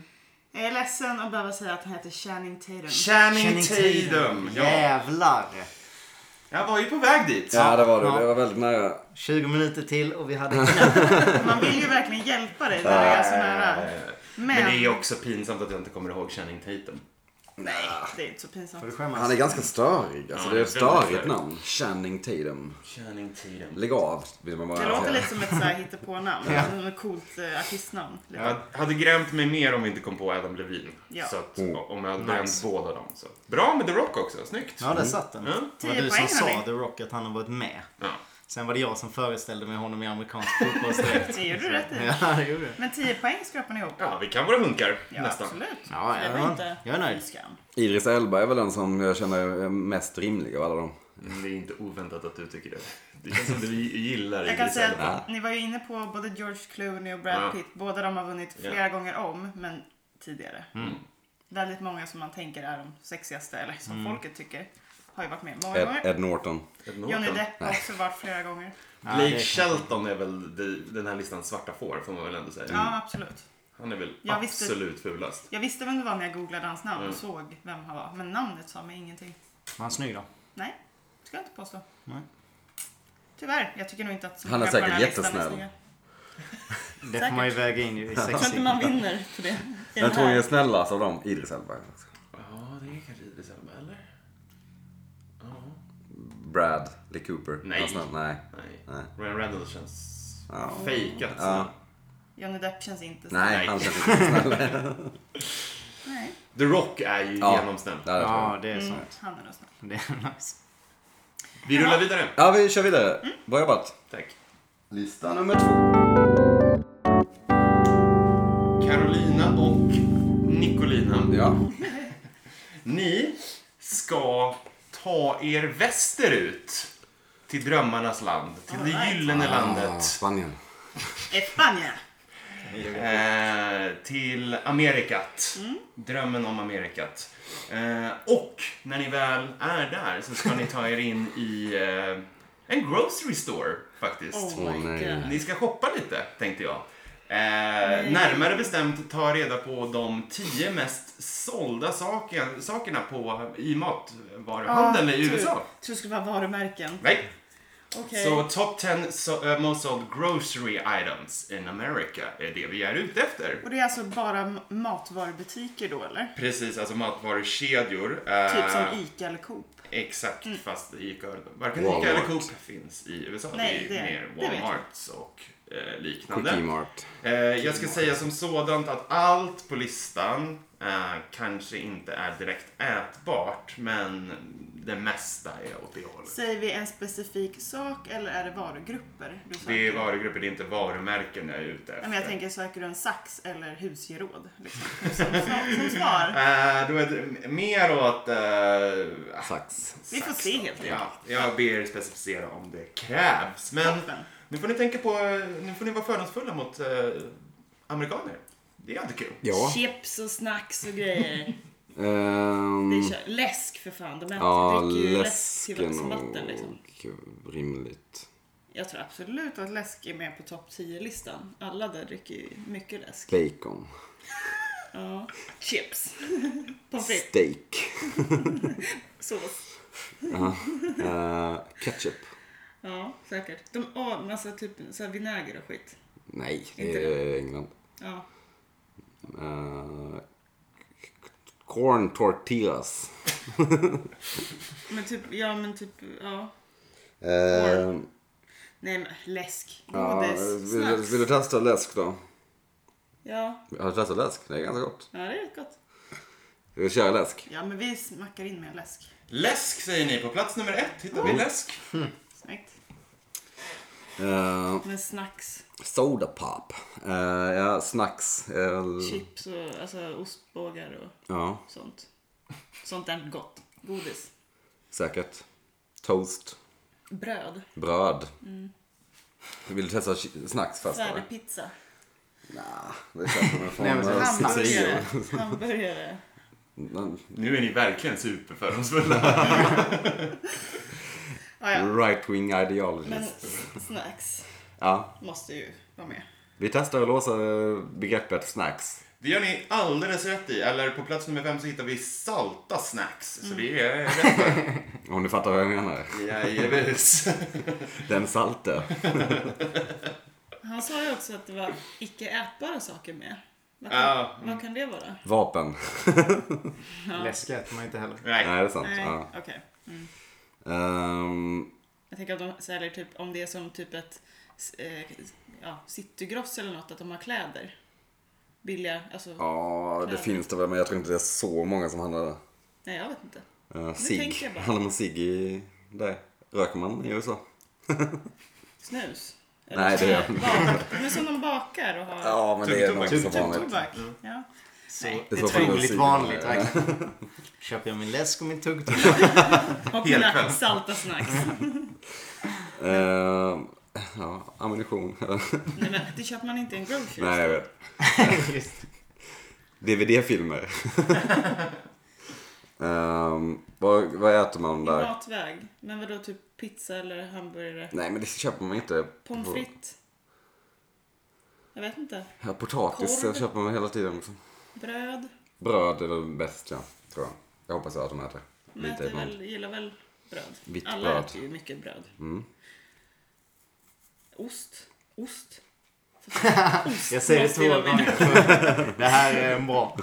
S4: Jag är ledsen att behöva säga att han heter Channing Tatum.
S2: Channing
S3: Channing
S2: Tatum! Ja.
S3: Jävlar!
S2: Jag var ju på väg dit.
S1: Ja, det var du.
S3: Ja.
S1: Det var väldigt nära.
S3: 20 minuter till och vi hade knappt...
S4: Man vill ju verkligen hjälpa dig när det är så nära.
S2: Men... det är ju också pinsamt att jag inte kommer ihåg Channing Tatum.
S4: Nej, det är inte så pinsamt.
S3: Får du skämmas?
S1: Han är ganska störig. Alltså,
S2: Ja,
S1: det är ett
S2: det är väldigt
S1: störigt
S2: störig.
S1: namn. Channing Tatum.
S2: Channing Tatum.
S1: Lägg av, vill man bara
S4: Det låter
S1: säga.
S4: lite som ett så här hittepånamn. Som Ett coolt eh, artistnamn. Lite.
S2: Jag hade grämt mig mer om vi inte kom på Adam Levine.
S4: Ja.
S2: Så att,
S1: Mm.
S2: om jag hade bränt båda dem. Så. Bra med The Rock också, snyggt.
S3: Ja, där satt den.
S2: Mm.
S3: Det var
S4: Tio
S3: du som
S4: poäng,
S3: sa
S4: hörni.
S3: The Rock att han har varit med.
S2: Ja.
S3: Sen var det jag som föreställde mig honom i amerikansk fotbollsdräkt.
S4: Det gjorde du rätt i.
S3: Ja, det gjorde jag.
S4: Men 10 poäng skrapar ni ihop.
S2: ja, vi kan vara hunkar
S4: Ja,
S2: nästan.
S4: absolut.
S3: Ja,
S4: det
S3: jag-
S4: var inte
S3: jag är nöjd.
S4: fy skam.
S1: Idris Elba är väl den som jag känner är mest rimlig av alla dem.
S2: Men Mm, Det är inte oväntat att du tycker det. Det känns som att vi gillar
S4: Jag kan
S2: Idris
S4: säga
S2: Elba.
S4: att ni var ju inne på både George Clooney och
S2: Ja.
S4: Brad Pitt. Båda de har vunnit
S2: Ja.
S4: flera gånger om, men tidigare. Väldigt många som man tänker är de sexigaste, eller som folket tycker, har ju varit med många
S1: Ed,
S4: gånger.
S1: Ed Norton.
S2: Ed
S4: Johnny
S2: Norton.
S4: Depp har också varit flera gånger.
S3: Ja,
S2: Blake
S3: det är-
S2: Shelton är väl det- den här listan svarta får, får man väl ändå säga.
S4: Ja, absolut.
S2: Han är väl
S4: Jag visste-
S2: absolut fulast.
S4: Jag visste vem det var när jag googlade hans namn och såg vem han var, men namnet sa mig ingenting.
S3: Var han snygg då?
S4: Nej, ska jag inte påstå.
S3: Nej.
S4: Tyvärr, jag tycker nog inte att så
S1: Han är
S4: många på den
S1: säkert
S4: här listan är
S1: jättesnäll.
S4: snygga.
S3: Det får man ju väga in i
S4: Jag tror
S3: sexig.
S4: inte man vinner på det. i den
S1: Den tror jag är
S4: här.
S1: snällast av dem. Idris Elba.
S2: Ja, det är kanske Idris Elba, eller?
S1: Brad Lee Cooper.
S2: Nej.
S1: Hans namn, nej.
S2: Nej.
S1: Nej.
S2: Ryan Reynolds känns
S1: Ja.
S2: fejkat.
S1: Ja.
S4: Johnny Depp känns inte så.
S1: Nej,
S2: Nej.
S1: han känns inte snäll.
S4: Nej.
S2: The Rock är ju
S1: Ja.
S2: genomstämd.
S1: Ja, det tror jag.
S3: Ja, det är
S4: Mm,
S3: sant.
S4: han är nog snäll.
S3: Det är nice.
S2: Vi rullar vidare.
S1: Ja, vi kör vidare. Bra jobbat.
S2: Tack.
S1: Lista nummer två.
S2: Carolina och Nicolina.
S1: Ja.
S2: Ni ska ta er västerut till drömmarnas land, till det gyllene
S1: Ah,
S2: landet,
S1: Spanien.
S4: Spanien.
S2: eh, till Amerikat. Drömmen om Amerikat. Eh, och när ni väl är där så ska ni ta er in i eh, en grocery store faktiskt.
S4: Oh my
S1: nej.
S4: god.
S2: Ni ska shoppa lite, tänkte jag. Eh, närmare bestämt ta reda på de tio mest sålda saker, sakerna på, i matvaruhandeln i
S4: Tror-
S2: USA.
S4: Tror det skulle vara varumärken.
S2: Nej.
S4: typ. Okej.
S2: Så top 10 so, eh, most sold grocery items in America är det vi är ute efter.
S4: Och det är alltså bara m- matvarubutiker då eller?
S2: Precis, alltså matvarukedjor. eh,
S4: Typ som Mm. Ica eller Coop.
S2: Exakt, fast Ica, varken
S1: Walmart.
S2: Ica eller Coop finns i USA.
S4: Nej,
S2: det är
S4: det-
S2: mer
S4: det vet jag.
S2: Walmarts och eh, liknande.
S1: Quickie Mart.
S2: Eh, jag ska säga som sådant att allt på listan eh, kanske inte är direkt ätbart, men det mesta är åt det hållet.
S4: Säger vi en specifik sak eller är det varugrupper? Du
S2: Det är
S4: söker?
S2: varugrupper, det är inte varumärken jag är ute efter.
S4: Nej, Men jag tänker, söker du en sax eller husgeråd? Liksom. Som, som, som svar.
S2: Eh, då är det mer åt... eh,
S1: Sax.
S4: Vi får se helt enkelt.
S2: Ja, jag ber er specificera om det krävs. Men
S4: Toppen.
S2: nu får ni tänka på, eh, nu får ni vara fördomsfulla mot eh, amerikaner. Det är alltid kul.
S1: Ja.
S4: Chips och snacks och grejer.
S1: Ehm,
S4: Vi kör läsk för fan. De äter,
S1: ja,
S4: dricker ju läsk
S1: läsk
S4: till
S1: är
S4: vatten som
S1: nog
S4: vatten. Liksom.
S1: rimligt.
S4: Jag tror absolut att läsk är med på topp 10-listan. Alla där dricker ju mycket läsk.
S1: Bacon.
S4: Ja. Chips. Pommes frites.
S1: Steak.
S4: Sås.
S1: Eh, ketchup.
S4: Ja, säkert. De har massa typ så här vinäger och skit.
S1: Nej,
S4: Inte
S1: det är England.
S4: Ja.
S1: Eh, corn tortillas.
S4: Men typ, ja men typ, ja.
S1: Eh,
S4: Nej men läsk.
S1: ja,
S4: Godis.
S1: vill, du-
S4: snacks.
S1: vill du testa läsk då?
S4: Ja.
S1: Har du testat läsk? Det är ganska gott.
S4: ja, det är rätt gott.
S1: Vill du köra läsk?
S4: Ja men vi smackar in med läsk.
S2: Läsk säger ni, på plats nummer ett hittar vi läsk.
S4: Snyggt.
S1: Eh,
S4: Men snacks,
S1: soda pop. Eh, ja, snacks. är väl-
S4: chips och alltså, ostbågar och
S1: ja,
S4: sånt. Sånt är gott. Godis.
S1: säkert. Toast.
S4: Bröd.
S1: Bröd.
S4: Mm.
S1: Vill du testa chi- snacks först? eller?
S4: Svärdepizza.
S1: Nja, det köper man
S3: Nej, men så-
S1: från...
S4: Hamburgare. Hamburgare.
S1: någon-
S2: Nu är ni verkligen superfördomsfulla.
S4: Ja, Ah, ja.
S1: Right wing ideologist.
S4: Men s- snacks
S1: Ja,
S4: måste ju vara med.
S1: vi testar att låsa eh, begreppet snacks.
S2: Det gör ni alldeles rätt i. Eller på plats nummer fem så hittar vi salta snacks.
S4: Mm.
S2: Så det är rätt där.
S1: Om du fattar vad jag menar.
S2: Jajebus.
S1: Den salte.
S4: Han sa ju också att det var icke ätbara saker med. Vad kan,
S2: Ja.
S4: vad kan det vara?
S1: Vapen.
S3: Läsk äter man inte heller.
S1: Nej,
S2: Nej.
S1: det är sant.
S4: Nej,
S1: Ja.
S4: okej. Mm.
S1: Ehm,
S4: Jag tänker att de säljer typ, om det är som typ ett eh, ja, citygross eller något, att de har kläder. Billiga, alltså.
S1: ja, det finns det väl, men jag tror inte det är så många som handlar där.
S4: Nej, jag vet inte.
S1: Uh,
S4: tänker
S1: sig.
S4: jag bara.
S1: Handlar man sig i... Där. Röker man i USA?
S4: Snus?
S1: Nej, det är-
S4: Bak- Men som de bakar och har
S1: Ja, men det är nog
S2: Tuggtobak.
S1: inte så vanligt.
S4: tuggtobak. Ja.
S3: Så
S4: Nej.
S3: det
S1: Det
S3: är
S1: är så fantasy.
S3: otroligt vanligt verkligen. Köper jag min läsk och min tuggtugg.
S4: Och
S2: Helt
S4: mina
S2: själv.
S4: salta snacks.
S1: Ehm, ja, ammunition.
S4: Nej, men det köper man inte i en grocery.
S1: Nej, jag vet. DVD-filmer. Ehm, vad, vad äter man
S4: I
S1: där?
S4: matväg. Men vadå, typ pizza eller hamburgare?
S1: Nej, men det köper man inte.
S4: Pommes frites? Jag vet inte.
S1: Ja, potatis
S4: Korv.
S1: det köper man hela tiden. liksom.
S4: Bröd?
S1: Bröd är väl bäst, ja. Tror jag. Jag hoppas att de äter.
S4: De
S1: Lite
S4: äter
S1: ibland.
S4: väl, gillar väl bröd?
S1: Vitt
S4: Alla
S1: bröd. Mm.
S4: äter ju mycket bröd. Ost? Ost?
S3: Jag säger det två
S4: Måste jag
S3: gånger. Det här är en bra.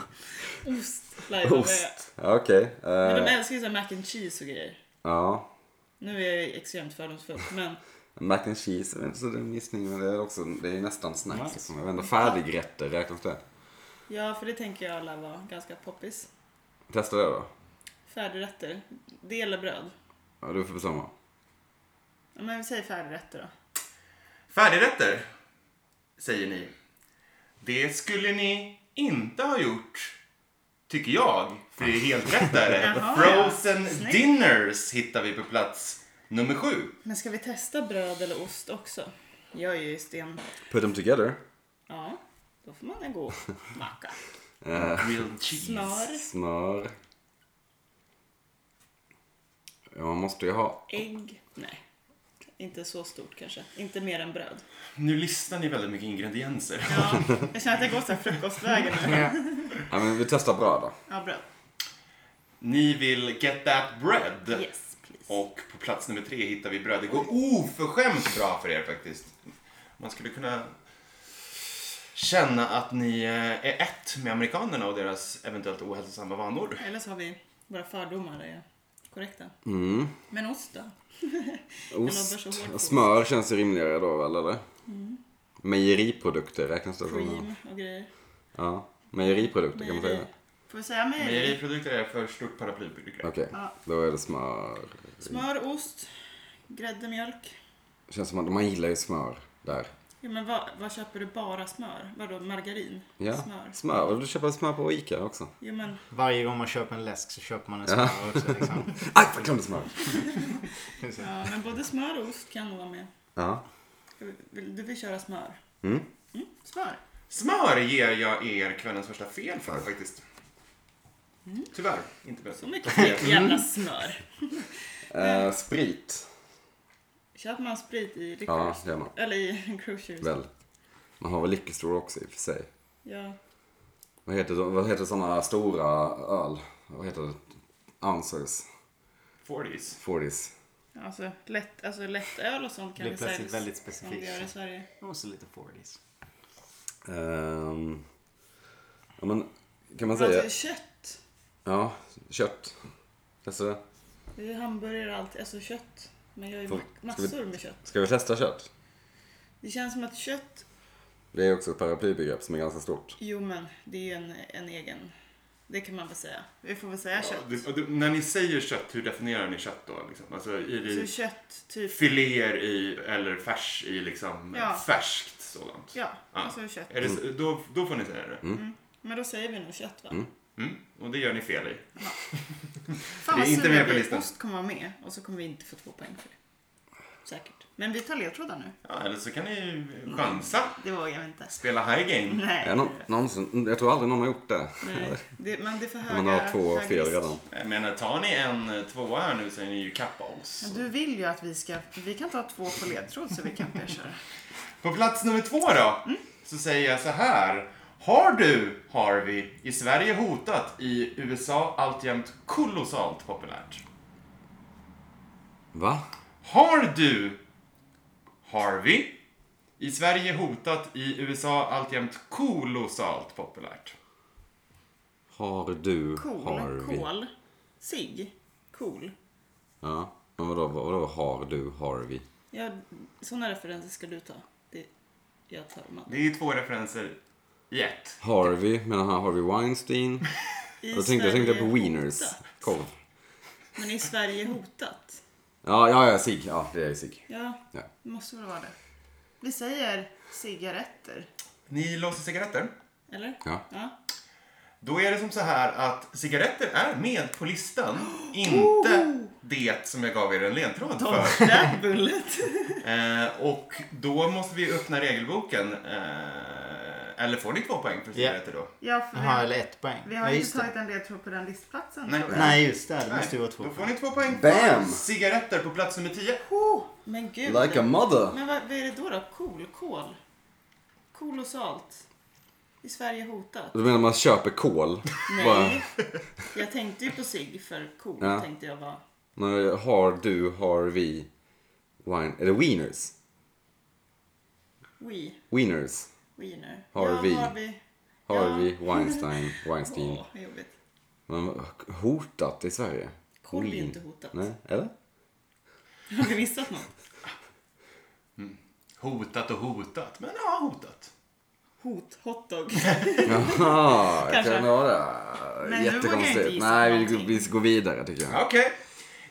S4: Ost? Lajban, vad är-
S1: Ost. Ja, Okej. eh,
S4: Men de älskar ju så här mac and cheese och grejer.
S1: ja.
S4: Nu är jag ju extremt fördomsfull, men
S1: Mac and cheese är inte så dum gissning, men det är, också, det är nästan snacks.
S3: Nice.
S1: Liksom. Jag vet inte, färdigrätter, räknas det?
S4: ja, för det tänker jag alla var ganska poppis.
S1: Testa det då.
S4: Färdigrätter, det gäller bröd.
S1: Ja, du får bestämma.
S4: Men vi säger färdigrätter då.
S2: Färdigrätter, säger ni. Det skulle ni inte ha gjort, tycker jag. För det är helt rätt där.
S4: Jaha,
S2: Frozen
S4: ja. Snyggt.
S2: dinners hittar vi på plats nummer sju.
S4: Men ska vi testa bröd eller ost också? Jag är ju sten...
S1: Put them together.
S4: Ja, då får man en god macka.
S2: Grilled cheese.
S4: Smör,
S1: Smör. Ja, man måste ju ha.
S4: ägg. Nej, inte så stort kanske. Inte mer än bröd.
S2: Nu listar ni väldigt mycket ingredienser.
S4: Ja, jag känner att jag går så här frukostvägen nu.
S1: Ja, men vi testar bröd då.
S4: Ja, bröd.
S2: Ni vill get that bread.
S4: Yes, please.
S2: Och på plats nummer tre hittar vi bröd. Det går oförskämt bra för er faktiskt. Man skulle kunna känna att ni eh, är ett med amerikanerna och deras eventuellt ohälsosamma vanor.
S4: Eller så har vi våra fördomar är korrekta.
S1: Mm.
S4: Men ost då?
S1: Ost.
S4: så hårt på. Mm.
S1: Smör känns ju rimligare då, väl, eller? Mejeriprodukter räknas det som.
S4: Cream och grejer.
S1: Ja, mejeriprodukter kan man säga.
S4: Mejeri. Får vi säga mejeri?
S2: Mejeriprodukter är för stort paraplybegrepp.
S1: Okej,
S4: Ja.
S1: då är det smör.
S4: Smör, ost, grädde, mjölk.
S1: Känns som att man gillar ju smör där.
S4: Ja, men vad, vad köper du bara smör? Vadå margarin?
S1: Ja,
S4: Smör?
S1: smör. Och du köper smör på Ica också.
S4: Jo men
S3: Varje gång man köper en läsk så köper man en smör också. Liksom.
S1: Aj, jag glömde smör.
S4: Ja, men både smör och ost kan nog vara med.
S1: Ja.
S4: Ska vi- vill- Du vill köra smör?
S1: Mm.
S4: Smör?
S2: Smör ger jag er kvällens första fel för faktiskt. Tyvärr, inte bäst.
S4: Mm. Så mycket fet jävla smör.
S1: Eh, sprit.
S4: Köper man sprit i
S1: Ja,
S4: licorice?
S1: det gör man.
S4: Eller i cruise ships?
S1: Väl. Man har väl liquorstore också i och för sig.
S4: Ja.
S1: Vad heter, de- vad heter sådana stora öl? Vad heter det? Ounces?
S2: 40s.
S1: 40s?
S4: Alltså lätt, alltså lätt öl och sånt kan
S3: Blir
S4: vi säga.
S3: plötsligt väldigt
S4: Som vi gör i
S3: specifikt.
S4: Sverige.
S3: Och så lite 40s.
S1: Ehm, ja, men kan man säga?
S4: Alltså, kött.
S1: Ja, kött. Testa det.
S4: Det är hamburgare och allt. Alltså kött. Man gör ju
S1: Får-
S4: ma-
S1: ska vi-
S4: massor med kött.
S1: Ska vi testa kött?
S4: Det känns som att kött,
S1: Det är också ett paraplybegrepp som är ganska stort.
S4: jo men det är ju en, en egen, det kan man väl säga. Vi får väl säga
S2: Ja,
S4: kött.
S2: det, och det, när ni säger kött, hur definierar ni kött då? Liksom? Alltså, är
S4: Så
S2: det
S4: kött, typ,
S2: filéer i, eller färs i liksom
S4: Ja.
S2: färskt sådant?
S4: ja, alltså kött. Mm.
S2: Är det, så- då, då får ni säga det.
S1: Mm.
S4: Men då säger vi nog kött va?
S2: Mm. Och det gör ni fel i.
S4: Fan
S2: Det är
S4: vad
S2: inte
S4: sur
S2: med
S4: jag
S2: på
S4: blir.
S2: listan.
S4: Ost kommer vara med och så kommer vi inte få två poäng för det. Säkert. Men vi tar ledtrådar nu.
S2: Ja, eller så kan ni chansa.
S4: Det vågar jag inte.
S2: Spela high game.
S4: Nej.
S1: Jag, någon, någonsin, jag tror aldrig någon har gjort det.
S4: Nej. Det, men det är för höga
S1: Man har två
S4: höga
S1: fel
S4: risk.
S1: redan.
S2: Jag menar, tar ni en eh, tvåa här nu så är ni ju kappa oss.
S4: Men Du vill ju att vi ska, vi kan ta två på ledtråd så vi kan köra.
S2: På plats nummer två då, så säger jag så här. Har du, Harvey, i Sverige hotat, i USA alltjämt kolossalt populärt?
S1: Va?
S2: Har du, Harvey, i Sverige hotat, i USA alltjämt kolossalt populärt?
S1: Har du,
S4: Cool,
S1: har vi?
S4: kol, sig, cool.
S1: Ja, men vadå, vadå har du, har vi?
S4: Ja, sådana referenser ska du ta. Det, jag tar dem andra.
S2: Det är två referenser i ett.
S1: Harvey, menar han Harvey Weinstein?
S4: I
S1: Då tänkte jag tänkte
S4: Sverige
S1: på wieners.
S4: hotat.
S1: Korv.
S4: Men i Sverige hotat?
S1: Ja, ja, ja, sig. Ja, det är sig.
S4: Ja,
S1: Ja.
S4: det måste väl vara det. Vi säger cigaretter,
S2: Ni låser cigaretter.
S4: eller?
S1: Ja.
S4: Ja.
S2: Då är det som så här att cigaretter är med på listan. Inte det som jag gav er en ledtråd för.
S4: That bullet.
S2: Eh, och då måste vi öppna regelboken. Eh, eller får ni två poäng för cigaretter då?
S4: Ja, för
S3: Jaha,
S4: vi,
S3: eller ett poäng.
S4: vi har
S3: Nej,
S4: ju
S3: just
S4: inte tagit
S3: det.
S4: en ledtråd på den listplatsen.
S2: Nej.
S4: tror jag.
S3: Nej, just det. Det
S2: Nej,
S3: måste ju vara två
S2: Då får
S3: poäng.
S2: ni två poäng
S1: Bam!
S2: för cigaretter på plats nummer 10.
S4: Oh, men gud.
S1: Like a mother.
S4: Men vad, vad är det då då? Cool, kol? Kol och salt? I Sverige hotat?
S1: Du menar man köper kol?
S4: Nej. Jag tänkte ju på sig för cool
S1: Ja.
S4: tänkte jag var.
S1: Men har du, har vi? Wine. Är det wieners?
S4: We,
S1: Wieners.
S4: wiener.
S1: Har
S4: ja,
S1: vi.
S4: Har vi.
S1: Harvey, Weinstein, Weinstein.
S4: Åh, vad jobbigt.
S1: Men hotat i Sverige?
S4: Kol är ju
S1: Wien.
S4: inte hotat.
S1: Nej, eller?
S4: Har vi missat något?
S2: Hotat och hotat, men ja, hotat.
S4: Hot, hotdog.
S1: Jaha, jag
S4: Kanske.
S1: kan ha det.
S4: Men nu vågar jag inte
S1: Jättekonstigt.
S4: gissa
S1: Nej, vi,
S4: någonting.
S1: vi går vidare tycker jag.
S2: Okej.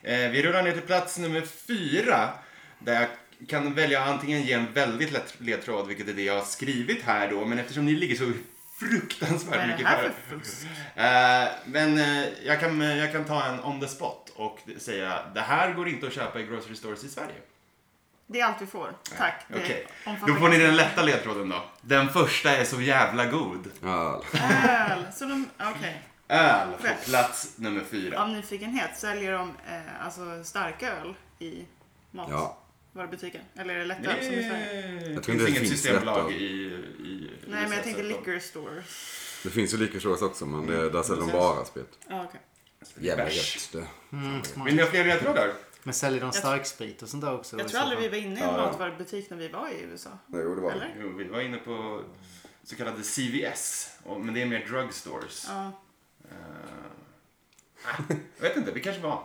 S2: Eh, vi rullar ner till plats nummer fyra. Där jag kan välja antingen ge en väldigt lätt ledtråd, vilket är det jag har skrivit här då, men eftersom ni ligger så
S4: Vad
S2: fruktansvärt
S4: är det
S2: mycket
S4: här
S2: före.
S4: för fusk?
S2: Eh, men eh, jag, kan, jag kan ta en on the spot och säga det här går inte att köpa i grocery stores i Sverige.
S4: Det är allt vi får. Tack. Det
S2: Okej,
S4: omfattar
S2: då får ni
S4: inte
S2: den lätta ledtråden då. Den första är så jävla god.
S1: Ja.
S4: öl. Så de, okej.
S2: Öl på
S4: Rätt.
S2: plats nummer fyra.
S4: Av nyfikenhet, säljer de eh, alltså starka öl i
S1: ja.
S4: matvarubutiken? Eller är det lättöl som i Sverige?
S2: Det
S1: Jag tror inte det
S2: finns inget
S1: finns
S2: systembolag
S1: lättöl.
S2: i, i
S4: Nej, men
S2: USA,
S4: jag tänkte
S2: så-
S4: liquor stores.
S1: Det finns ju liquorstores också men det, där säljer de
S2: Precis.
S1: bara sprit.
S4: Ja, okej.
S1: Jävla
S2: Bärs.
S1: gött det.
S3: Mm, smart.
S2: Vill ni ha fler ledtrådar?
S3: Men säljer de starksprit och sånt där också?
S4: Jag tror aldrig vi var inne i en
S1: Ja, ja.
S4: matvarubutik när vi var i USA.
S1: Jo det var det.
S4: Eller?
S2: Jo, vi var inne på så kallade CVS, och- men det är mer drugstores.
S4: Ja.
S2: Eh, ah, jag vet inte, vi kanske var.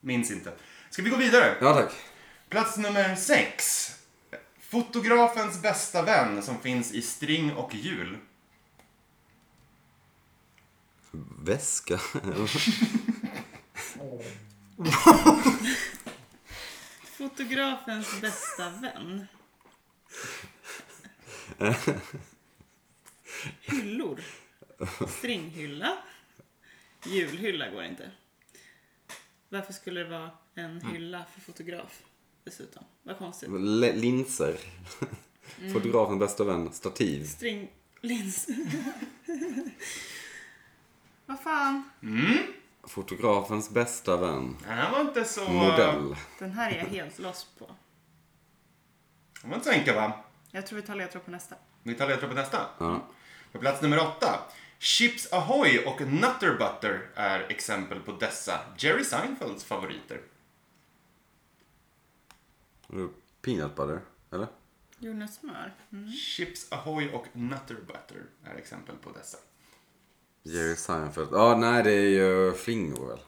S2: Minns inte. Ska vi gå vidare?
S1: Ja tack.
S2: Plats nummer sex. Fotografens bästa vän som finns i string och hjul.
S1: Väska.
S4: Fotografens bästa vän. Hyllor. Stringhylla. Julhylla går inte. Varför skulle det vara en
S1: Mm.
S4: hylla för fotograf dessutom? Vad konstigt.
S1: L- linser.
S4: Mm.
S1: Fotografens bästa vän. Stativ.
S4: Stringlins. Vad fan?
S1: Fotografens bästa vän.
S2: Den här var inte så...
S1: Modell.
S4: Den här är jag helt loss på.
S2: Den var inte så enkel va?
S4: Jag tror vi tar ledtråd på nästa.
S2: Vi tar ledtråd på nästa.
S1: Ja.
S2: På plats nummer åtta. Chips Ahoy och Nutter Butter är exempel på dessa Jerry Seinfelds favoriter.
S1: Och då Peanut butter. Eller?
S4: Jordnötssmör. Mm.
S2: Chips Ahoy och Nutter Butter är exempel på dessa.
S1: Jerry Seinfeld. Ja nej det är ju flingor väl.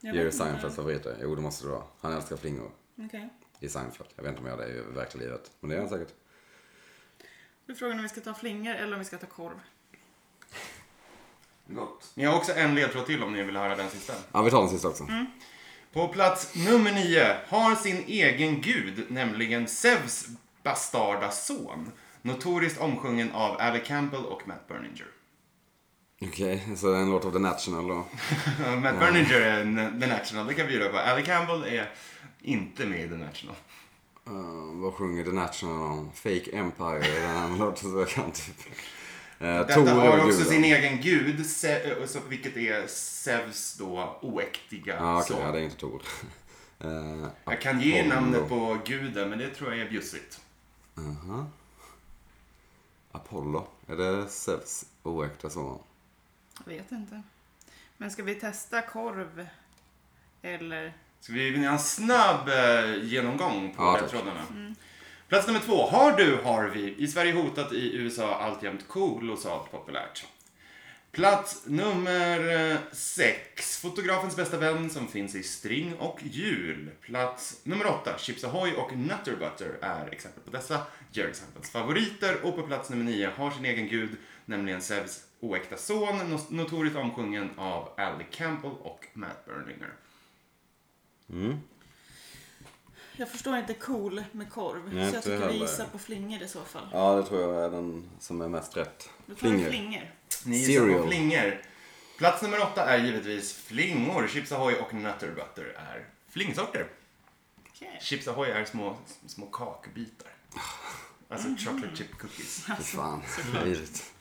S4: Jag
S1: Jerry
S4: vet inte.
S1: Seinfelds favoriter. Jo det måste det vara. Han älskar flingor.
S4: Okej.
S1: I Seinfeld. Jag vet inte om jag gör det i verkliga livet. Men det är han säkert.
S4: Du frågar om vi ska ta flingor eller om vi ska ta korv.
S1: Gott.
S2: Ni har också en ledtråd till om ni vill höra den sista.
S1: Ja vi tar den sista också.
S2: På plats nummer nio har sin egen gud, nämligen Zeus bastarda son. Notoriskt omsjungen av Ally Campbell och Matt Berninger.
S1: Okej, så det är en låt av The National då.
S2: Matt Berninger är en- The National, det kan vi bjuda på. Ally Campbell är inte med i The National.
S1: Eh, vad sjunger The National om? Fake Empire är den här låten som jag kan typ. Uh, Tor
S2: Detta har
S1: är
S2: också
S1: guden.
S2: sin egen gud, Se- och så- vilket är Zeus då oäktiga
S1: Ja okej,
S2: son.
S1: ja, det är inte Tor. Uh,
S2: Jag kan ge namnet på guden, men det tror jag är bjussigt.
S1: Apollo. Är det Zeus oäkta son?
S4: Jag vet inte. Men ska vi testa korv? Eller?
S2: Ska vi ha en snabb eh, genomgång på
S1: Ja, tack.
S2: ledtrådarna? Plats nummer två. Har du, har vi. I Sverige hotat, i USA alltjämt kolossalt populärt. Plats nummer eh, sex. Fotografens bästa vän som finns i string och hjul. Plats nummer åtta. Chips Ahoy och Nutter Butter är exempel på dessa. Jerry Seinfelds favoriter. Och på plats nummer nio har sin egen gud, nämligen Zeus oäkta son, no- notoriskt omsjungen av Ally Campbell och Matt Berninger.
S4: Jag förstår inte cool med
S1: Nej,
S4: korv. så jag
S1: inte
S4: tycker vi
S1: heller.
S4: gissar på flingor i så fall.
S1: Ja det tror jag är den som är mest rätt.
S4: Då tar vi
S1: Flingor.
S4: flingor.
S2: Ni
S1: Cereal.
S2: gissar på flingor. Plats nummer åtta är givetvis flingor. Chips Ahoy och Nutter Butter är flingsorter.
S4: Okej.
S2: Chips Ahoy är små, små kakbitar. Alltså chocolate chip cookies.
S1: Fy fan,
S2: Alltså,
S1: vidrigt.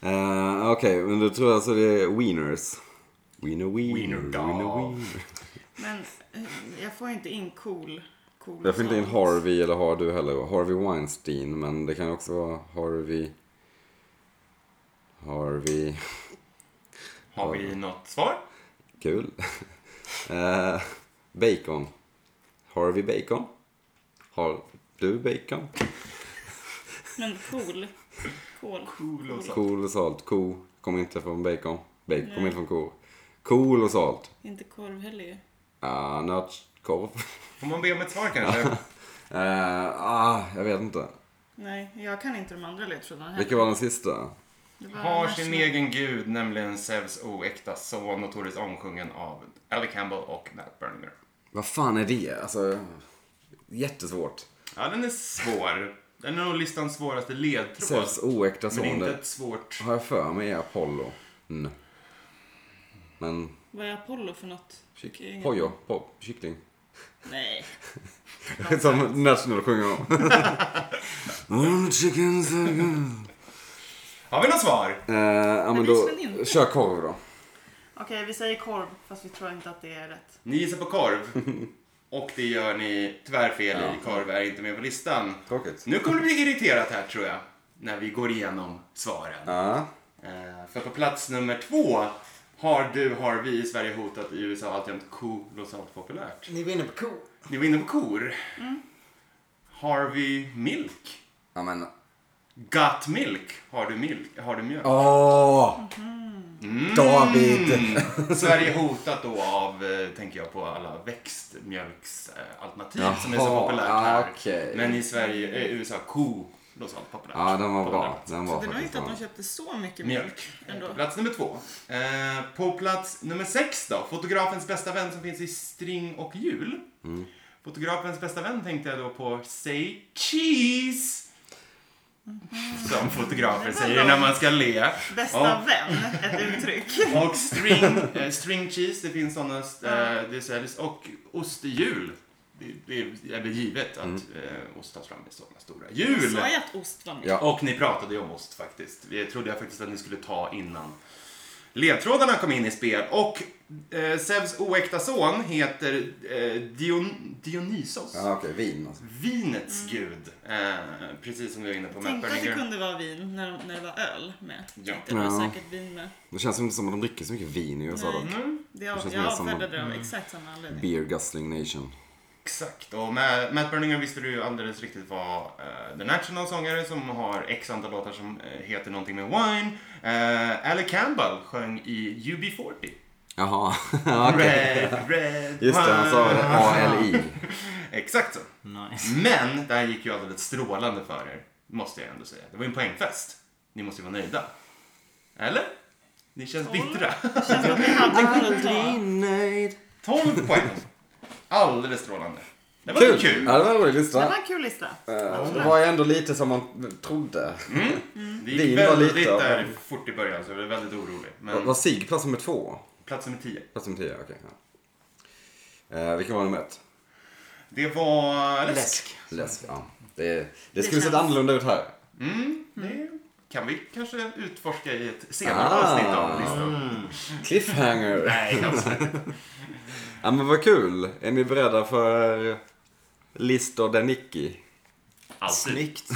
S1: Eh, Okej, men då tror jag alltså det är wieners. Wiener wiener.
S2: Wiener dog.
S1: wiener.
S4: Men eh, jag får inte in cool. cool
S1: Jag får inte in
S4: sånt.
S1: Harvey eller har du heller. Harvey Weinstein, men det kan också vara Harvey... Harvey...
S2: Har vi något svar?
S1: Kul. Eh, bacon. Harvey Bacon. Har du bacon?
S4: Men cool. Cool.
S2: Cool och salt.
S1: Cool och salt. Ko. Kommer inte från bacon. Bacon kommer inte från kor. Cool och salt.
S4: Inte korv heller ju.
S1: Ah, nötkorv.
S2: Får man be om ett svar kanske?
S1: Eh, ah, jag vet inte.
S4: Nej, jag kan inte de andra ledtrådarna heller.
S1: Vilken var den sista?
S4: Det var
S2: Har
S4: national-
S2: sin egen gud, nämligen Zeus oäkta son, notoriskt omsjungen av Ally Campbell och Matt Berninger.
S1: Vad fan är det? Alltså, Jättesvårt.
S2: Ja, den är svår. Den är nog listans svåraste ledtråd.
S1: Zeus oäkta
S2: Men
S1: son.
S2: det är inte
S1: det
S2: ett svårt...
S1: Har jag för mig är Apollo. Mm. Men
S4: Vad är Apollo för något? Fick jag
S1: kyck,
S4: ingen-
S1: pojo, po, kyckling.
S4: Nej.
S1: Som National sjunger om. Mm, All the chickens are good.
S2: Har vi något svar?
S1: Eh, ja men
S4: Det
S1: då,
S4: blir som en hint.
S1: kör korv då.
S4: Okej, vi säger korv fast vi tror inte att det är rätt.
S2: Ni gissar på korv. Och det gör ni tyvärr fel i. Korv är inte med på listan.
S1: Tråkigt.
S2: Nu kommer du bli irriterat här tror jag. När vi går igenom svaren.
S1: Ja,
S2: Eh, För på plats nummer två har du, har vi i Sverige hotat i USA alltjämt kolossalt populärt.
S3: Ni var inne på ko.
S2: Ni var inne på kor. Harvey Milk.
S1: ja men.
S2: Got milk. Har du milk? Har du mjölk?
S1: Åh! David!
S2: Mm. Sverige hotat då av, eh, tänker jag på alla växtmjölksalternativ som är så
S1: Jaha,
S2: populärt
S1: ah,
S2: här.
S1: okej.
S2: Men i Sverige, eh, USA, ko, kolossalt populärt.
S1: Ja, den var bra.
S2: Populärt.
S1: Den
S4: Så
S1: var
S4: det var ju
S1: faktiskt
S4: inte att
S1: bra.
S4: de köpte så mycket
S2: Mjölk.
S4: mjölk ändå.
S2: Plats nummer två. Eh, på plats nummer sex då. Fotografens bästa vän som finns i String och hjul.
S1: Mm.
S2: Fotografens bästa vän tänkte jag då på Say Cheese.
S4: Mhm.
S2: Som fotografer säger när man ska le.
S4: Bästa
S2: Ja.
S4: vän, ett uttryck.
S2: Och string, eh, string cheese, det finns sådana, eh, det säljs. Och ostjul. Det, det är väl givet att eh, ost tas fram i sådana stora hjul.
S4: Sa jag att ost var med?
S1: Ja.
S2: Och ni pratade ju om ost faktiskt. Det trodde jag faktiskt att ni skulle ta innan ledtrådarna kom in i spel. Och eh, Zeus oäkta son heter eh, Dion, Dionysos.
S1: Ja, okej, vin alltså.
S2: Vinets gud. Eh, precis som vi var inne på med
S4: Tänkte att det
S2: Berninger.
S4: kunde vara vin när, när det var öl med. Tänkte
S2: Ja.
S4: att det var
S1: Ja.
S4: säkert vin med.
S1: Det känns inte som att de dricker så mycket vin i USA dock.
S2: Mm,
S4: Det jag,
S1: känns
S4: jag
S1: mer som- Mm.
S4: avfärdade det av exakt samma anledning.
S1: Beer Guzzling Nation.
S2: Exakt. Och Matt, Matt Berninger visste du ju alldeles riktigt var eh, The National-sångare som har x antal låtar som eh, heter någonting med wine. Eh, Alec Campbell sjöng i UB40.
S1: Jaha, ja, okej.
S2: Red, red
S1: Just det, han sa
S2: wine.
S1: ALI.
S2: Exakt så.
S3: Nice.
S2: Men det här gick ju alldeles strålande för er, måste jag ändå säga. Det var ju en poängfest. Ni måste ju vara nöjda. Eller? Ni känns bittra.
S4: Känns som att vi hade kunnat ta.
S1: nöjd.
S2: 12 poäng. Alldeles strålande. Det var
S1: Kul!
S2: kul. kul.
S1: Ja, det var en rolig
S4: Det
S1: lista.
S4: var en kul lista.
S1: Eh, Det var ju ändå lite som man trodde.
S2: Det gick
S1: Vin var
S2: väldigt
S1: lite, ja.
S2: där fort i början, så jag blev väldigt orolig.
S1: Var-
S2: Men
S1: Var Sig plats nummer två?
S2: plats nummer 10.
S1: Plats nummer tio, okej. ja. Eh, vilken var nummer ett?
S2: Det var läsk.
S1: Läsk, ja. Det, det
S4: Det
S1: skulle sett
S4: känns-
S1: annorlunda ut här.
S2: Mm, det kan vi kanske utforska i ett senare avsnitt av
S1: Ah.
S2: listan.
S3: Mm.
S1: Cliffhanger.
S2: Nej, kanske inte.
S1: ja, men vad kul. Är ni beredda för listor där Nicky?
S2: Alltid.
S3: Snyggt.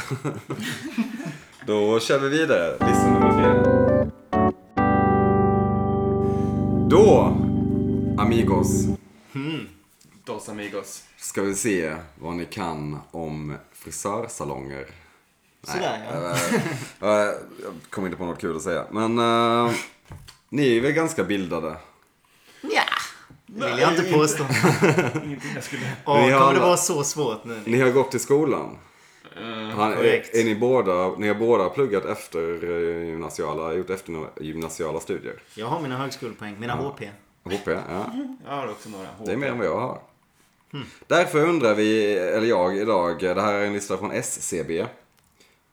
S1: Då kör vi vidare. Lista nummer fyra. Då, amigos,
S2: Dos amigos.
S1: ska vi se vad ni kan om frisörsalonger.
S3: Sådär ja.
S1: Eh, Jag kom inte på något kul att säga. Men eh, ni är väl ganska bildade?
S3: Nja. Det vill jag inte påstå.
S2: Ingenting jag skulle...
S3: Åh,
S1: Vi har
S3: kommer det
S1: alla-
S3: vara så svårt nu?
S1: Ni har gått i skolan?
S2: Eh,
S1: Han,
S3: korrekt.
S1: är, är ni, båda, ni har båda pluggat efter eh, gymnasiala, gjort efter gymnasiala studier?
S3: Jag har mina högskolepoäng, mina HP.
S1: HP, ja.
S2: Jag har också några
S1: Det är
S2: hår.
S1: mer än vad jag har.
S2: Hmm.
S1: Därför undrar vi, eller jag idag, det här är en lista från SCB.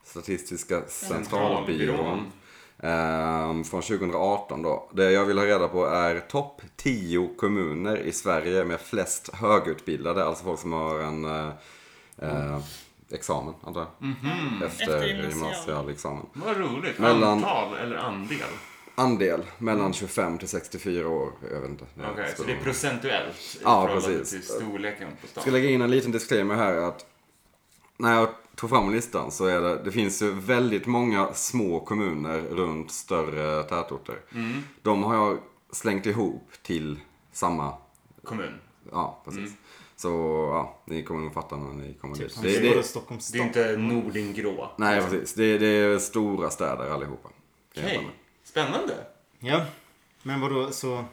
S1: Statistiska centralbyrån.
S2: Centralbyrån.
S1: ehm, från 2018 då. Det jag vill ha reda på är topp 10 kommuner i Sverige med flest högutbildade, alltså folk som har en eh, eh, examen, antar jag.
S2: Mhm.
S1: Efter
S4: Efter gymnasial.
S1: gymnasial examen.
S2: Vad roligt.
S1: Mellan-
S2: Antal eller andel?
S1: Andel mellan 25 till 64 år, jag vet inte.
S2: Okej, så det är procentuellt i
S1: Ja,
S2: förhållande
S1: precis.
S2: till storleken på stan?
S1: Jag ska lägga in en liten disclaimer här att när jag tog fram listan så är det, det finns ju väldigt många små kommuner runt större tätorter. De har jag slängt ihop till samma,
S2: Kommun.
S1: ja precis. Så ja, ni kommer nog fatta när ni kommer dit.
S3: Det,
S1: Det, det,
S3: Stockholms
S2: Det är
S3: stad.
S2: inte Nordingrå.
S1: nej precis, det, det är stora städer allihopa. kan jag
S2: Okej,
S1: hålla med.
S2: spännande.
S3: Ja. Men vadå så...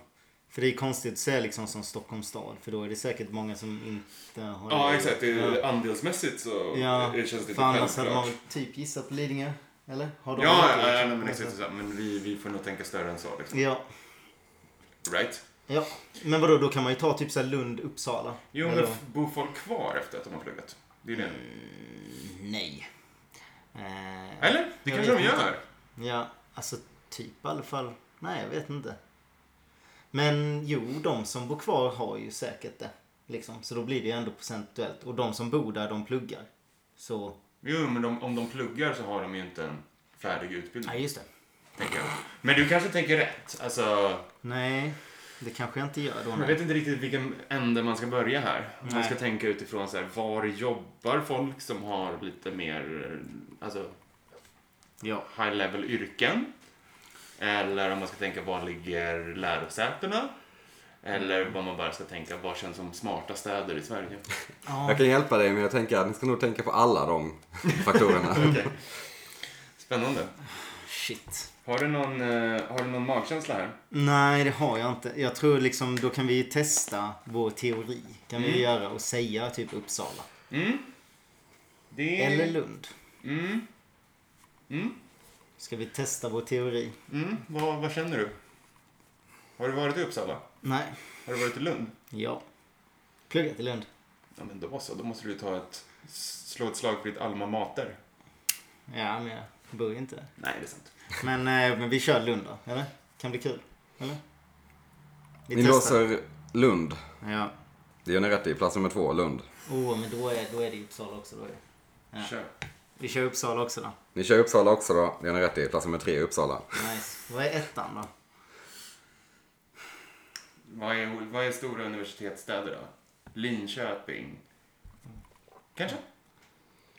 S3: För det är konstigt att säga liksom som Stockholms stad. För då är det säkert många som inte har
S2: Ja, exakt. Det är Andelsmässigt så
S3: Ja,
S2: det känns lite
S3: för annars hade
S2: självklart.
S3: man typ gissat Lidingö. Eller? Har
S2: Ja,
S3: de
S2: ja,
S3: rätt,
S2: ja,
S3: liksom?
S2: men exakt. så- Men vi, vi får nog tänka större än så. Liksom.
S3: Ja.
S2: Right?
S3: Ja. Men vadå, då kan man ju ta typ så här Lund, Uppsala.
S2: Jo, men
S3: Eller-
S2: f- bor folk kvar efter att de har pluggat? Det är det.
S3: Nej. Eh,
S2: Eller? Det
S3: Jag
S2: kanske
S3: vet
S2: de
S3: inte.
S2: gör.
S3: Ja, alltså typ i alla fall. Nej, jag vet inte. Men jo, de som bor kvar har ju säkert det. Liksom. Så då blir det ju ändå procentuellt. Och de som bor där, de pluggar. Så,
S2: Jo, men de, om de pluggar så har de ju inte en färdig utbildning.
S3: nej just det.
S2: Tänker jag. Men du kanske tänker rätt. Alltså,
S3: Nej, det kanske jag inte gör då.
S2: jag
S3: nej.
S2: vet inte riktigt vilken ände man ska börja här. Man
S3: Nej.
S2: ska tänka utifrån så här, var jobbar folk som har lite mer, alltså
S3: Ja.
S2: high level yrken. Eller om man ska tänka var ligger lärosätena? Eller vad man bara ska tänka, vad känns som smarta städer i Sverige?
S1: Jag kan hjälpa dig men jag tänker att ni ska nog tänka på alla de faktorerna.
S2: Okej. Spännande.
S3: Shit.
S2: Har du, någon, eh, har du någon magkänsla här?
S3: Nej, det har jag inte. Jag tror liksom, då kan vi ju testa vår teori. Kan vi göra och säga typ Uppsala.
S2: Mm. Det är...
S3: Eller Lund.
S2: Mm.
S3: Mm. Ska vi testa vår teori?
S2: Mm. Vad, vad känner du? Har du varit i Uppsala?
S3: Nej.
S2: Har du varit i Lund?
S3: Ja. Pluggat i Lund.
S2: Ja, men då så. Då måste du ta ett, slå ett slag för ditt alma mater.
S3: Ja, men jag bor ju inte där.
S2: Nej, det är sant.
S3: Men, eh, men vi kör Lund då, eller? Kan bli kul, eller? Vi
S1: Ni
S3: testar.
S1: låser Lund.
S3: Ja.
S1: Det gör ni rätt i. Plats nummer två, Lund.
S3: Oh, men då är, då är det Uppsala också. Då är det. Ja.
S2: Kör.
S3: Vi kör Uppsala också då.
S1: Ni kör Uppsala också då. Det gör ni rätt i. Plats nummer tre, Uppsala.
S3: Nice. Vad är ettan då?
S2: Vad är, vad är stora universitetsstäder då? Linköping? Kanske?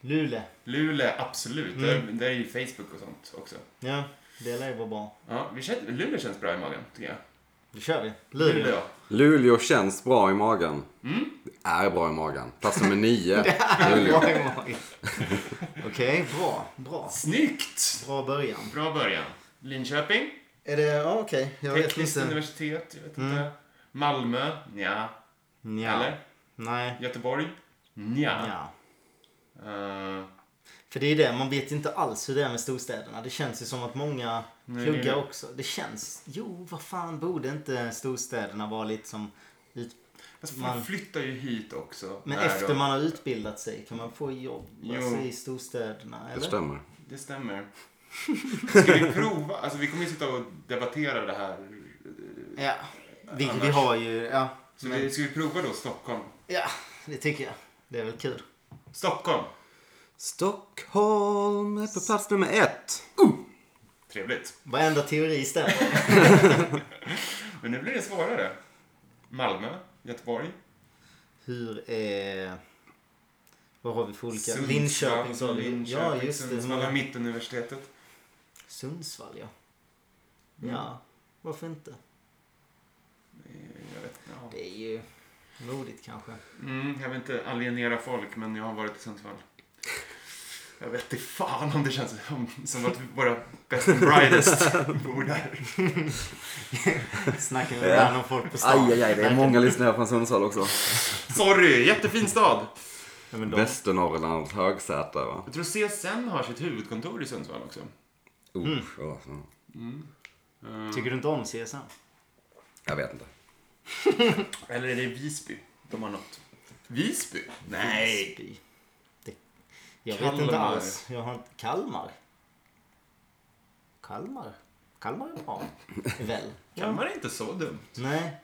S3: Luleå.
S2: Luleå, absolut.
S3: Mm.
S2: Där, där är ju Facebook och sånt också.
S3: Ja, det lär ju vara bra.
S2: Ja, vi känner, Luleå känns bra i magen, tycker jag.
S3: Då kör vi. Luleå.
S1: Luleå känns bra i magen. Det är bra i magen. Plats nummer nio, Luleå.
S3: Mm. Bra i magen. Okej, bra. Bra.
S2: Snyggt!
S3: Bra början.
S2: Bra början. Linköping?
S3: Är det, ja okej. Jag vet
S2: Tekniskt
S3: inte. Mm.
S2: universitet? Jag vet inte. Malmö? Nja.
S3: Nja.
S2: Eller?
S3: Nej.
S2: Göteborg? Nja.
S3: Ja.
S2: Eh,
S3: För det är ju det, man vet ju inte alls hur det är med storstäderna. Det känns ju som att många
S2: Nej, det
S3: pluggar
S2: är det.
S3: också. Det känns, jo vad fan borde inte storstäderna vara lite som... ut-
S2: fast man
S3: Man-
S2: alltså, flyttar ju hit också.
S3: Men
S2: där
S3: efter
S2: och-
S3: man har utbildat sig kan man få jobb
S2: Jo.
S3: alltså, i storstäderna
S1: Det
S3: eller?
S1: stämmer.
S2: Det stämmer. Ska vi prova? Alltså vi kommer ju sitta och debattera det här.
S3: Ja. Vi, vi
S2: Annars-
S3: har ju, ja.
S2: Så vi, ska vi prova då Stockholm?
S3: Ja, det tycker jag. Det är väl kul.
S2: Stockholm!
S1: Stockholm är på plats nummer ett.
S2: Trevligt.
S3: Varenda teori stämmer.
S2: Men nu blir det svårare. Malmö, Göteborg,
S3: Hur är... Vad har vi för olika?
S2: Sundsvall, alltså
S3: Linköping sa vi.
S2: Linköping,
S3: Ja, just det. Hur
S2: Sundsvall,
S3: många-
S2: Mittuniversitetet.
S3: Sundsvall ja. Ja, varför inte?
S2: Jag vet inte. ja.
S3: Det är ju modigt kanske.
S2: Mm, jag vill inte alienera folk, men jag har varit i Sundsvall. Jag vet inte fan om det känns som, som att våra best and brightest bor där.
S3: Snackar vi ibland om folk på stan.
S1: Aj, aj, aj. Det är många lyssnare från Sundsvall också.
S2: Sorry, jättefin stad.
S3: Nej, men de,
S1: Västernorrland, Högsäter va?
S2: Jag tror CSN har sitt huvudkontor i Sundsvall också.
S1: Oh,
S3: Mm.
S1: ja, ja.
S3: tycker du inte om CSN?
S1: Jag vet inte.
S2: Eller är det Visby? De har något. Visby? Nej!
S3: Spy. Det, jag vet
S2: Kalmar.
S3: inte alls. Jag har inte, Kalmar? Kalmar? Kalmar är bra. Väl?
S2: Kalmar är inte så dumt.
S3: Nej.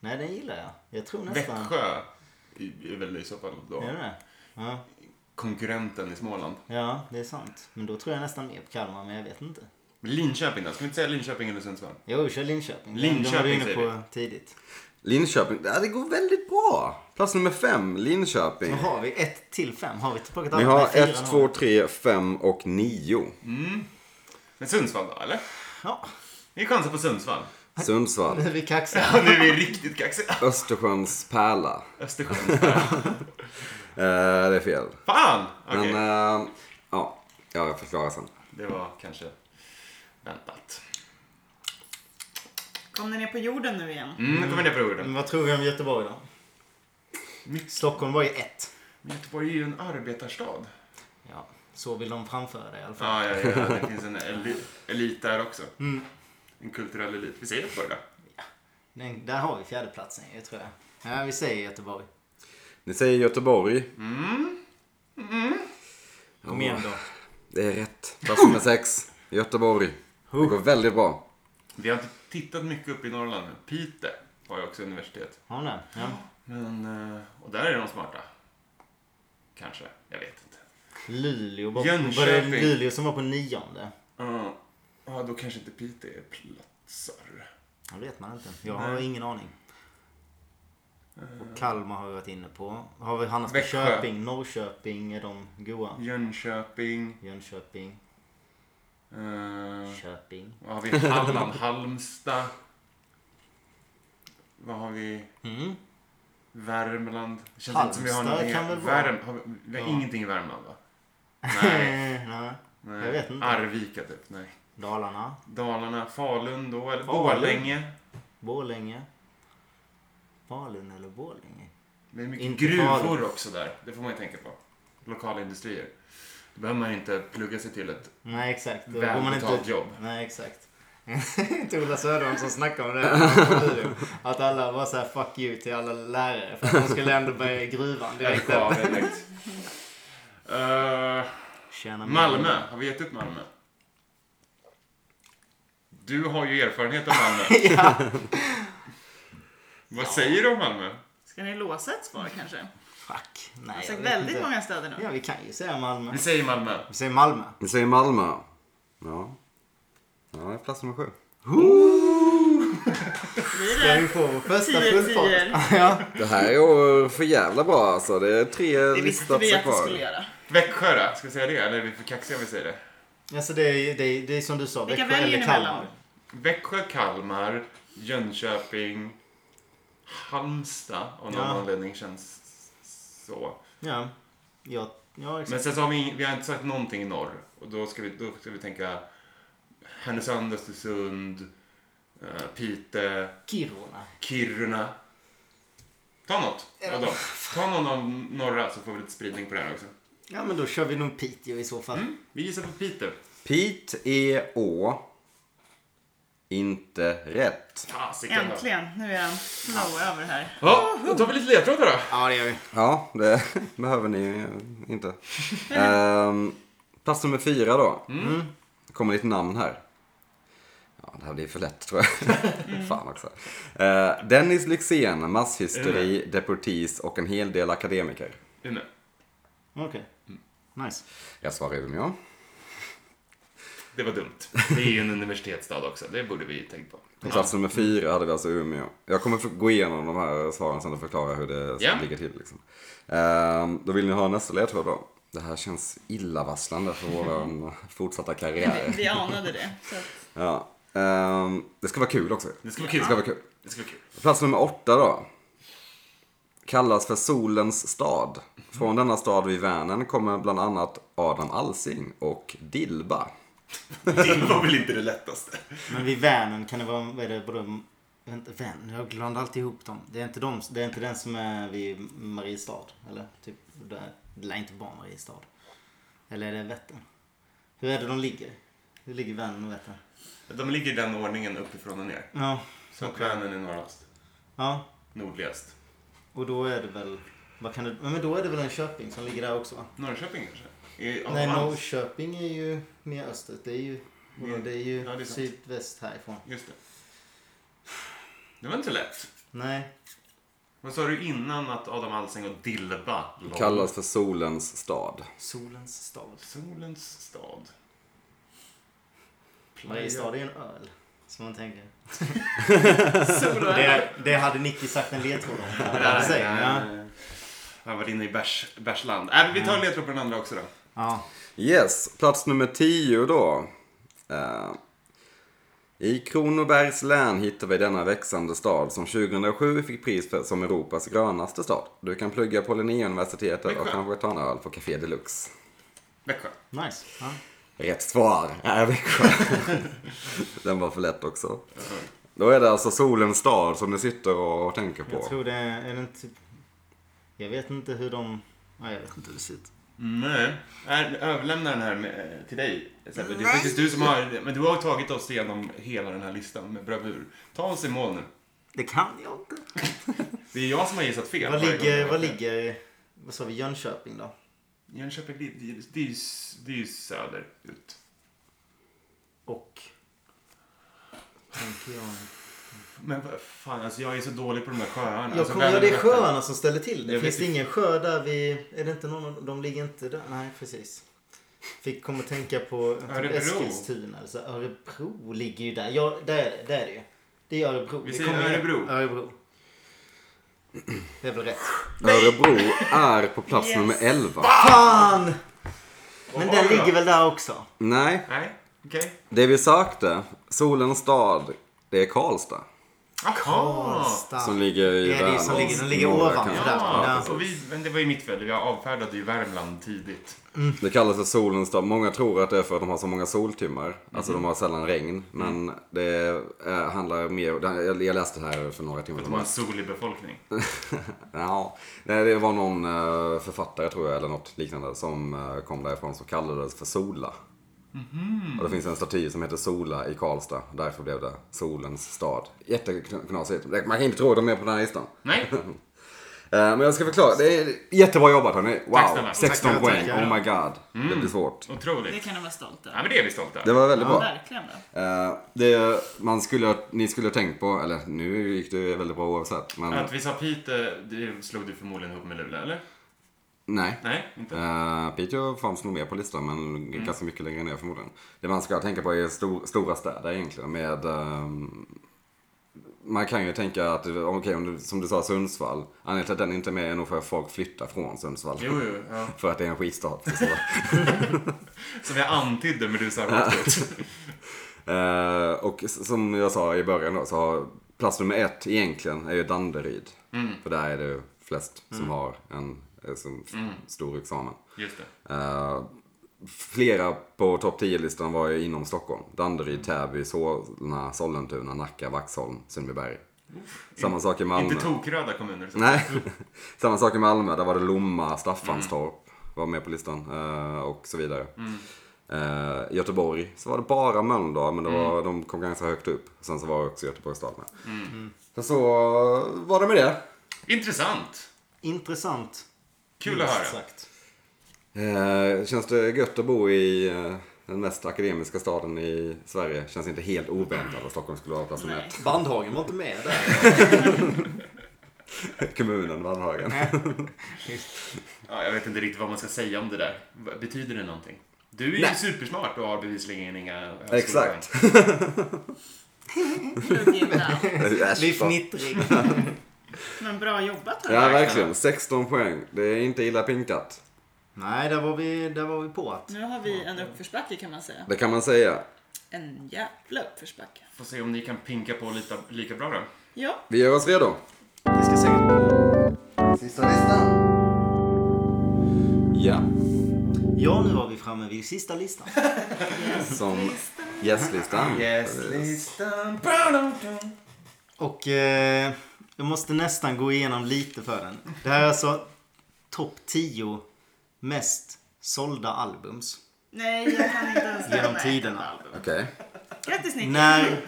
S3: Nej, den gillar jag. Jag tror nästan...
S2: Växjö är väl i så fall
S3: Är det
S2: då
S3: det? Ja.
S2: konkurrenten i Småland.
S3: ja, det är sant. Men då tror jag nästan mer på Kalmar, men jag vet inte.
S2: Men Linköping då? Ska vi inte säga Linköping eller Sundsvall?
S3: Jo, kör Linköping.
S2: Linköping,
S3: Den var du inne
S2: säger
S3: på tidigt.
S1: Linköping, ja, det går väldigt bra. Plats nummer fem, Linköping.
S3: Då har vi ett till fem. Har vi plockat
S1: Ni
S3: alla
S1: har
S3: de här fyra
S1: 1,
S3: nu?
S1: 2, 3, 5 och 9.
S2: Men Sundsvall då, eller?
S3: Ja,
S2: Vi chansar på Sundsvall.
S1: Sundsvall,
S3: nu är vi kaxiga.
S2: Ja, nu är vi riktigt kaxiga.
S1: Östersjöns pärla.
S2: Östersjön.
S1: Eh, det är fel.
S2: Fan! Okej.
S1: Men, eh, ja. ja, jag förklarar sen.
S2: Det var kanske väntat.
S4: Kom ni ner på jorden nu igen?
S2: Mm, nu kommer det på orden.
S3: Men vad tror vi om Göteborg då? Stockholm var ju ett.
S2: Men Göteborg är ju en arbetarstad.
S3: Ja, så vill de framföra det i alla fall.
S2: Ja, ja, ja. Mm. Det finns en eli- elit där också. En kulturell elit. Vi säger Göteborg då.
S3: Den, där har vi fjärdeplatsen ju, tror jag. Ja, vi säger Göteborg.
S1: Ni säger Göteborg.
S5: Kom igen då.
S1: Det är rätt. Plats nummer sex. Göteborg. Det går väldigt bra.
S2: Vi har inte tittat mycket upp i Norrland nu. Piteå har ju också universitet.
S3: Har ni den? Ja.
S2: Men, eh, och där är de smarta. Kanske. Jag vet inte.
S3: Luleå. Var, var det
S2: Jönköping.
S3: Luleå som var på nionde?
S2: Ja, ja, då kanske inte Piteå är platsar.
S3: Jag vet man inte. Jag har ingen aning. Och Kalmar har vi varit inne på. Har vi hamnat på
S2: Växjö.
S3: Köping? Norrköping är de goa.
S2: Jönköping.
S3: Jönköping,
S2: eh,
S3: Köping.
S2: vad har vi? Halland, Halmstad. Vad har vi?
S3: Mm.
S2: Värmland. Det känns inte som vi har
S3: Halmstad
S2: någonting.
S3: kan väl vara-
S2: Värm... Har vi... vi har
S3: Ja.
S2: ingenting i Värmland va? Nej.
S3: Nej.
S2: nej.
S3: Jag vet inte.
S2: Arvika typ. Nej.
S3: Dalarna,
S2: Dalarna, Falun då eller
S3: Falun.
S2: Borlänge.
S3: Borlänge. Falun eller Borlänge?
S2: Det är mycket
S3: Inte
S2: gruvor
S3: Falun.
S2: också där. Det får man ju tänka på. Lokala industrier. Då behöver man ju inte plugga sig till ett
S3: Nej, exakt. Då går man
S2: välbetalt
S3: inte...
S2: jobb.
S3: Nej, exakt. Inte Ola Söderholm som snackade om det här. Att alla var så här fuck you till alla lärare. För att de skulle ändå börja i gruvan direkt.
S2: LKAB direkt. Eh,
S3: Tjäna mer.
S2: Malmö. Har vi gett upp Malmö? Du har ju erfarenhet av Malmö. Vad säger du om Malmö?
S4: Ska ni låsa ett svar kanske? Jag
S3: Fuck. Nej,
S4: har
S3: jag
S4: sagt
S3: vet
S4: Alltså, väldigt
S3: inte.
S4: många städer nu.
S3: Ja, vi kan ju säga Malmö.
S2: Vi säger Malmö.
S3: Vi säger Malmö.
S1: Ni säger Malmö. Ja. Ja, det är plats nummer sju.
S4: Blir
S3: Ska vi
S4: det
S3: få vår första
S4: tio
S3: fullfart?
S4: tior?
S3: Ja.
S1: Det här är för jävla bra alltså. Det är tre
S4: Det visste vi
S1: listplatser
S4: att vi skulle
S1: kvar.
S4: göra.
S2: Växjö då? Ska vi säga det? Eller är vi för kaxiga om vi säger det?
S3: Alltså det är, ju- det, är, det är som du sa,
S4: Vilka
S3: Växjö
S4: väljer
S3: eller
S4: ni
S3: Kalmar.
S4: mellan?
S2: Växjö, Kalmar, Jönköping, Halmstad av någon
S3: Ja.
S2: anledning känns så.
S3: Ja. Ja, ja exakt.
S2: Men sen så har vi, ing- vi har inte sagt någonting i norr. Och då ska vi, då ska vi tänka Härnösand, Östersund, eh, Piteå,
S3: Kiruna.
S2: Kiruna. Ta något av dem. Ta någon av norra så får vi lite spridning på det här också.
S3: Ja, men då kör vi nog Piteå i så fall.
S2: Vi gissar på Piteå.
S1: Piteå. E Inte rätt.
S2: Fasiken då.
S4: Äntligen, nu är jag flow över här.
S2: Ja, då tar vi lite ledtrådar då.
S3: Ja, det gör vi.
S1: Ja, det behöver ni ju inte. Ehm, plats nummer fyra då. Det kommer ditt namn här. Ja, det här blir för lätt tror jag. Fan också. Eh, Dennis Lyxzén, masshysteri, deportis och en hel del akademiker.
S2: Umeå.
S3: Okej. Nice.
S1: Jag svarar Umeå.
S2: Det var dumt. Det är ju en universitetsstad också. Det borde vi tänkt på.
S1: Och plats nummer fyra hade vi alltså Umeå. Jag kommer få- gå igenom de här svaren sen och förklara hur det
S2: Ja.
S1: ligger till. Liksom. Ehm, då vill ni ha nästa ledtråd då? Det här känns illavarslande för vår fortsatta
S4: Vi,
S1: karriär.
S4: vi anade det. Så att,
S1: Ja. Ehm, det ska vara kul också.
S2: Det ska vara kul.
S1: Det ska vara kul.
S2: Det ska vara kul.
S1: Plats nummer åtta då. Kallas för Solens stad. Från denna stad vid Vänern kommer bland annat Adam Alsing och Dilba.
S2: Det var väl inte det lättaste.
S3: Men vid Vänern kan det vara, vad är det, både, vänta, Vänern, jag blandar alltid ihop dem. Det är, inte de, det är inte den som är vid Mariestad, eller? Typ, där, det lär inte vara Mariestad. Eller är det Vättern? Hur är det de ligger? Hur ligger Vänern och Vättern?
S2: De ligger i den ordningen uppifrån och ner.
S3: Ja,
S2: Så att Vänern är norrast.
S3: ja.
S2: Nordligast.
S3: Och då är det väl, vad kan det, men då är det väl en Köping som ligger där också va?
S2: Norrköping kanske? I,
S3: Nej,
S2: Adams.
S3: Norrköping är ju mer österut. Det är ju, vadå, det är ju
S2: Ja, det är sant.
S3: sydväst härifrån.
S2: Just det. Det var inte lätt.
S3: Nej,
S2: Vad sa du innan att Adam Alsing och Dilba låg?
S1: Kallas för Solens stad.
S3: Solens stad.
S2: Solens stad.
S3: Mariestad är en öl, som man tänker.
S4: solo
S3: Det, det hade Nicky sagt en ledtråd om.
S2: Nej,
S3: Ja,
S2: nej,
S3: säg, ja.
S2: nej. Han var inne i bärs, bärsland. Äh, men vi tar en ledtråd på den andra också då.
S3: ja.
S1: Yes, plats nummer 10 då. Eh, I Kronobergs län hittar vi denna växande stad som 2007 fick pris för, som Europas grönaste stad. Du kan plugga på Linnéuniversitetet och
S2: Växjö.
S1: kanske ta en öl på Café Deluxe.
S2: Växjö.
S3: Nice. Ja.
S1: Rätt svar är Växjö. Den var för lätt också. Då är det alltså Solens stad som ni sitter och tänker
S3: Jag
S1: på.
S3: tror det är, är det inte typ... Jag vet inte hur de... Ja, jag vet inte hur det ser ut.
S2: Mm, Nej. Äh, Överlämna den här med, eh, till dig. Sebbe. Det är faktiskt du som har... Men du har tagit oss igenom hela den här listan med bravur. Ta oss i mål nu.
S3: Det kan jag inte.
S2: Det är jag som har gissat fel.
S3: Vad
S2: varje
S3: ligger,
S2: gång.
S3: vad ligger, vad sa vi, Jönköping då?
S2: Jönköping, det, det, det, är ju, det är ju söderut.
S3: Och? Tänker jag.
S2: Men vad fan, alltså jag är så dålig på de här sjöarna.
S3: Jag
S2: alltså,
S3: kommer, ja, det är
S2: Vänerrätten.
S3: sjöarna som ställer till det.
S2: Jag
S3: Finns
S2: vet
S3: det
S2: ju-
S3: ingen sjö där vi... Är det inte någon av De ligger inte där? Nej, precis. Fick komma att tänka på typ
S2: Örebro.
S3: Eskilstuna. Alltså, Örebro ligger ju där. Ja, där är det. Där är det ju. Det är Örebro.
S2: Vi
S3: Det
S2: säger
S3: kommer ju-
S2: Örebro.
S3: Örebro. Det är väl rätt.
S1: Örebro är på plats
S4: Yes.
S1: nummer 11.
S3: Fan! Men
S2: Vad
S3: den
S2: har vi då?
S3: ligger väl där också?
S1: Nej,
S2: Nej, okej.
S1: det vi sökte, Solens stad, det är Karlstad.
S2: Jaha!
S3: Karlstad.
S1: Ah. Som ligger i
S3: Det är det
S1: Värmlands
S3: som ligger, den ligger
S1: norra
S3: ovanför
S1: kant.
S3: där.
S2: Ja,
S3: Ja.
S2: och vi, men det var ju mitt fel. Jag avfärdade ju Värmland tidigt.
S1: Det kallas för solens dag. Många tror att det är för att de har så många soltimmar. Alltså de har sällan regn. Men det eh, handlar mer... det- jag- Jag läste det här för några timmar
S2: Att de har
S1: sedan.
S2: en solig befolkning.
S1: Ja, nej, det var någon eh, författare tror jag eller något liknande som eh, kom därifrån som kallades för Sola.
S2: Mhm.
S1: Och det finns en staty som heter Sola i Karlstad. Därför blev det Solens stad. Jätteknasigt. Man kan inte tro att de är på den här listan.
S2: Nej,
S1: Eh, Men jag ska förklara. Det är jättebra jobbat hörni.
S2: Tack
S1: Wow,
S2: snälla. Mm.
S1: 16
S3: Tackar,
S1: poäng.
S3: tackar.
S1: Oh my god. Det blir svårt.
S4: Det
S2: otroligt.
S4: kan de vara stolta
S2: Ja,
S4: över.
S2: men det är vi stolta.
S1: Det var väldigt bra.
S4: Verkligen bra.
S1: Eh, det man skulle, ni skulle ha tänkt på, eller nu gick det väldigt bra oavsett, men
S2: Att vi sa Piteå, det slog du förmodligen ihop med Luleå, eller?
S1: nej.
S2: Nej, inte.
S1: Eh, Piteå fanns nog med på listan men ganska mycket längre ner förmodligen. Det man ska tänka på är stor, stora städer egentligen med ehm, man kan ju tänka att, okej om du som du sa Sundsvall, anledningen till att den inte är med är nog för att folk flyttar från Sundsvall.
S2: Jo, jo, ja.
S1: För att det är en skitstad. Så.
S2: Som jag antydde, men du sa rakt ut.
S1: Eh, och s- som jag sa i början då, så har plats nummer ett egentligen är ju Danderyd. För där är det ju flest som har en eh, som f- stor examen.
S2: Just det.
S1: Eh, flera på topp 10-listan var ju inom Stockholm. Danderyd, Täby, Solna, Sollentuna, Nacka, Vaxholm, Sundbyberg. Samma sak i Malmö.
S2: Inte tokröda kommuner. Så.
S1: Nej. Samma sak i Malmö. Där var det Lomma, Staffanstorp var med på listan eh, och så vidare. Eh, Göteborg så var det bara Mölndal men det var, de kom ganska högt upp. Sen så var också Göteborgs stad med. Sen så eh, var det med det.
S2: Intressant.
S3: Intressant.
S2: Kul att
S3: minst
S2: höra.
S3: Sagt.
S1: Eh, känns det gött att bo i eh, den mest akademiska staden i Sverige? Känns inte helt oväntat att Stockholm skulle vara plats nummer
S4: Nej.
S3: Bandhagen var inte med där.
S1: ett. Kommunen Vallhagen.
S2: Ja, jag vet inte riktigt vad man ska säga om det där. Vad- Betyder det någonting? Du är ju supersmart och har bevisligen inga högskolepoäng.
S1: Exakt.
S4: Plug in now.
S1: Äsch, vad-
S3: Fnittrig.
S4: Men bra jobbat
S1: Ja
S4: hörni.
S1: verkligen, 16 poäng. Det är inte illa pinkat.
S3: Nej, där var, vi, där var vi på att...
S4: Nu har vi en uppförsbacke kan man säga.
S1: Det kan man säga.
S4: En jävla uppförsbacke.
S2: Får se om ni kan pinka på lite, lika bra då.
S4: Ja,
S1: Vi gör oss redo.
S3: Vi ska säkert
S1: Sista listan. Ja,
S3: Ja, nu var vi framme vid sista listan.
S1: som gästlistan.
S2: listan.
S3: Och eh, jag måste nästan gå igenom lite för den. Det här är alltså topp 10 mest sålda albums.
S4: nej jag kan inte ens nämna
S3: Genom
S4: ett
S3: tiderna.
S4: album.
S1: Okej.
S4: Grattis Nicky.
S3: När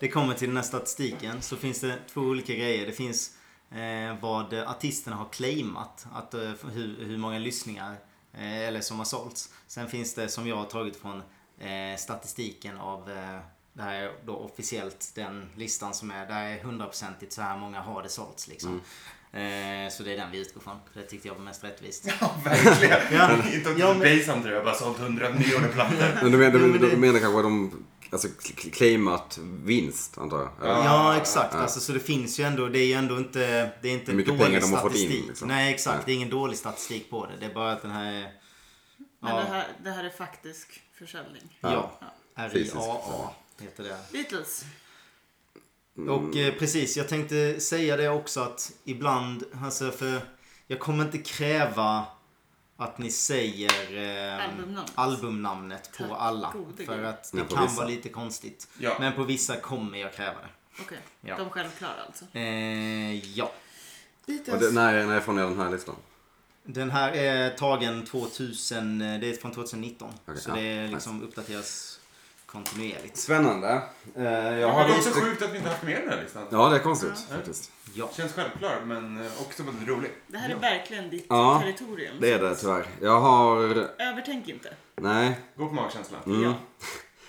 S3: det kommer till den här statistiken så finns det två olika grejer. Det finns eh, vad artisterna har claimat. Att, eh, hur, hur många lyssningar eh, eller som har sålts. Sen finns det som jag har tagit från eh, statistiken av eh, det här är då officiellt den listan som är. Där är hundraprocentigt så här många har det sålts liksom. Eh, så det är den vi utgår från. För det tyckte jag var mest rättvist.
S2: Ja, verkligen.
S3: Ja.
S2: Inte åkt
S3: Ja, men-
S2: till Bayside, jag har bara sålt 100 miljoner plattor.
S1: Men du menar,
S3: Jo,
S1: du,
S3: men det-
S1: du menar kanske att de alltså, cl- cl- claimat vinst, antar jag? Eller?
S3: Ja, exakt. Alltså, så det finns ju ändå. Det är ju ändå inte... Det är inte
S1: Hur mycket
S3: dålig
S1: pengar de har fått in,
S3: statistik.
S1: liksom.
S3: Nej, exakt.
S1: Nej.
S3: Det är ingen dålig statistik på det. Det är bara att den här... Ja.
S4: Men det, här, det här är faktisk försäljning.
S3: Ja.
S1: Fysisk
S3: RIAA
S1: liksom.
S3: heter det.
S4: Beatles.
S1: Mm.
S3: Och eh, precis, jag tänkte säga det också att ibland, alltså för jag kommer inte kräva att ni säger eh,
S4: Albumnamnet.
S3: albumnamnet på
S4: Tack
S3: alla.
S4: gode
S3: För
S4: Gud.
S3: att det
S1: Men på
S3: kan
S1: vissa.
S3: vara lite konstigt.
S2: Ja.
S3: Men på vissa kommer jag kräva det.
S4: Okej,
S3: Ja.
S4: de självklara alltså.
S3: Eh, ja.
S1: Och det, när, när från är den här listan?
S3: Den här är tagen 2000, eh, det är från 2019.
S1: Okej,
S3: så
S1: ja,
S3: det är
S1: nice.
S3: liksom uppdateras kontinuerligt.
S1: Spännande. Eh, jag
S2: Men
S1: har
S2: det är också
S1: lite...
S2: sjukt att vi inte haft med den här listan.
S1: Ja, det är konstigt faktiskt.
S3: Ja.
S2: Känns självklar, men eh, också väldigt rolig.
S4: Det här är verkligen ditt
S1: Ja,
S4: territorium.
S1: Det är det tyvärr. Jag har...
S4: Övertänk inte.
S1: Nej.
S2: Gå på magkänsla.
S1: Mm.
S4: Ja.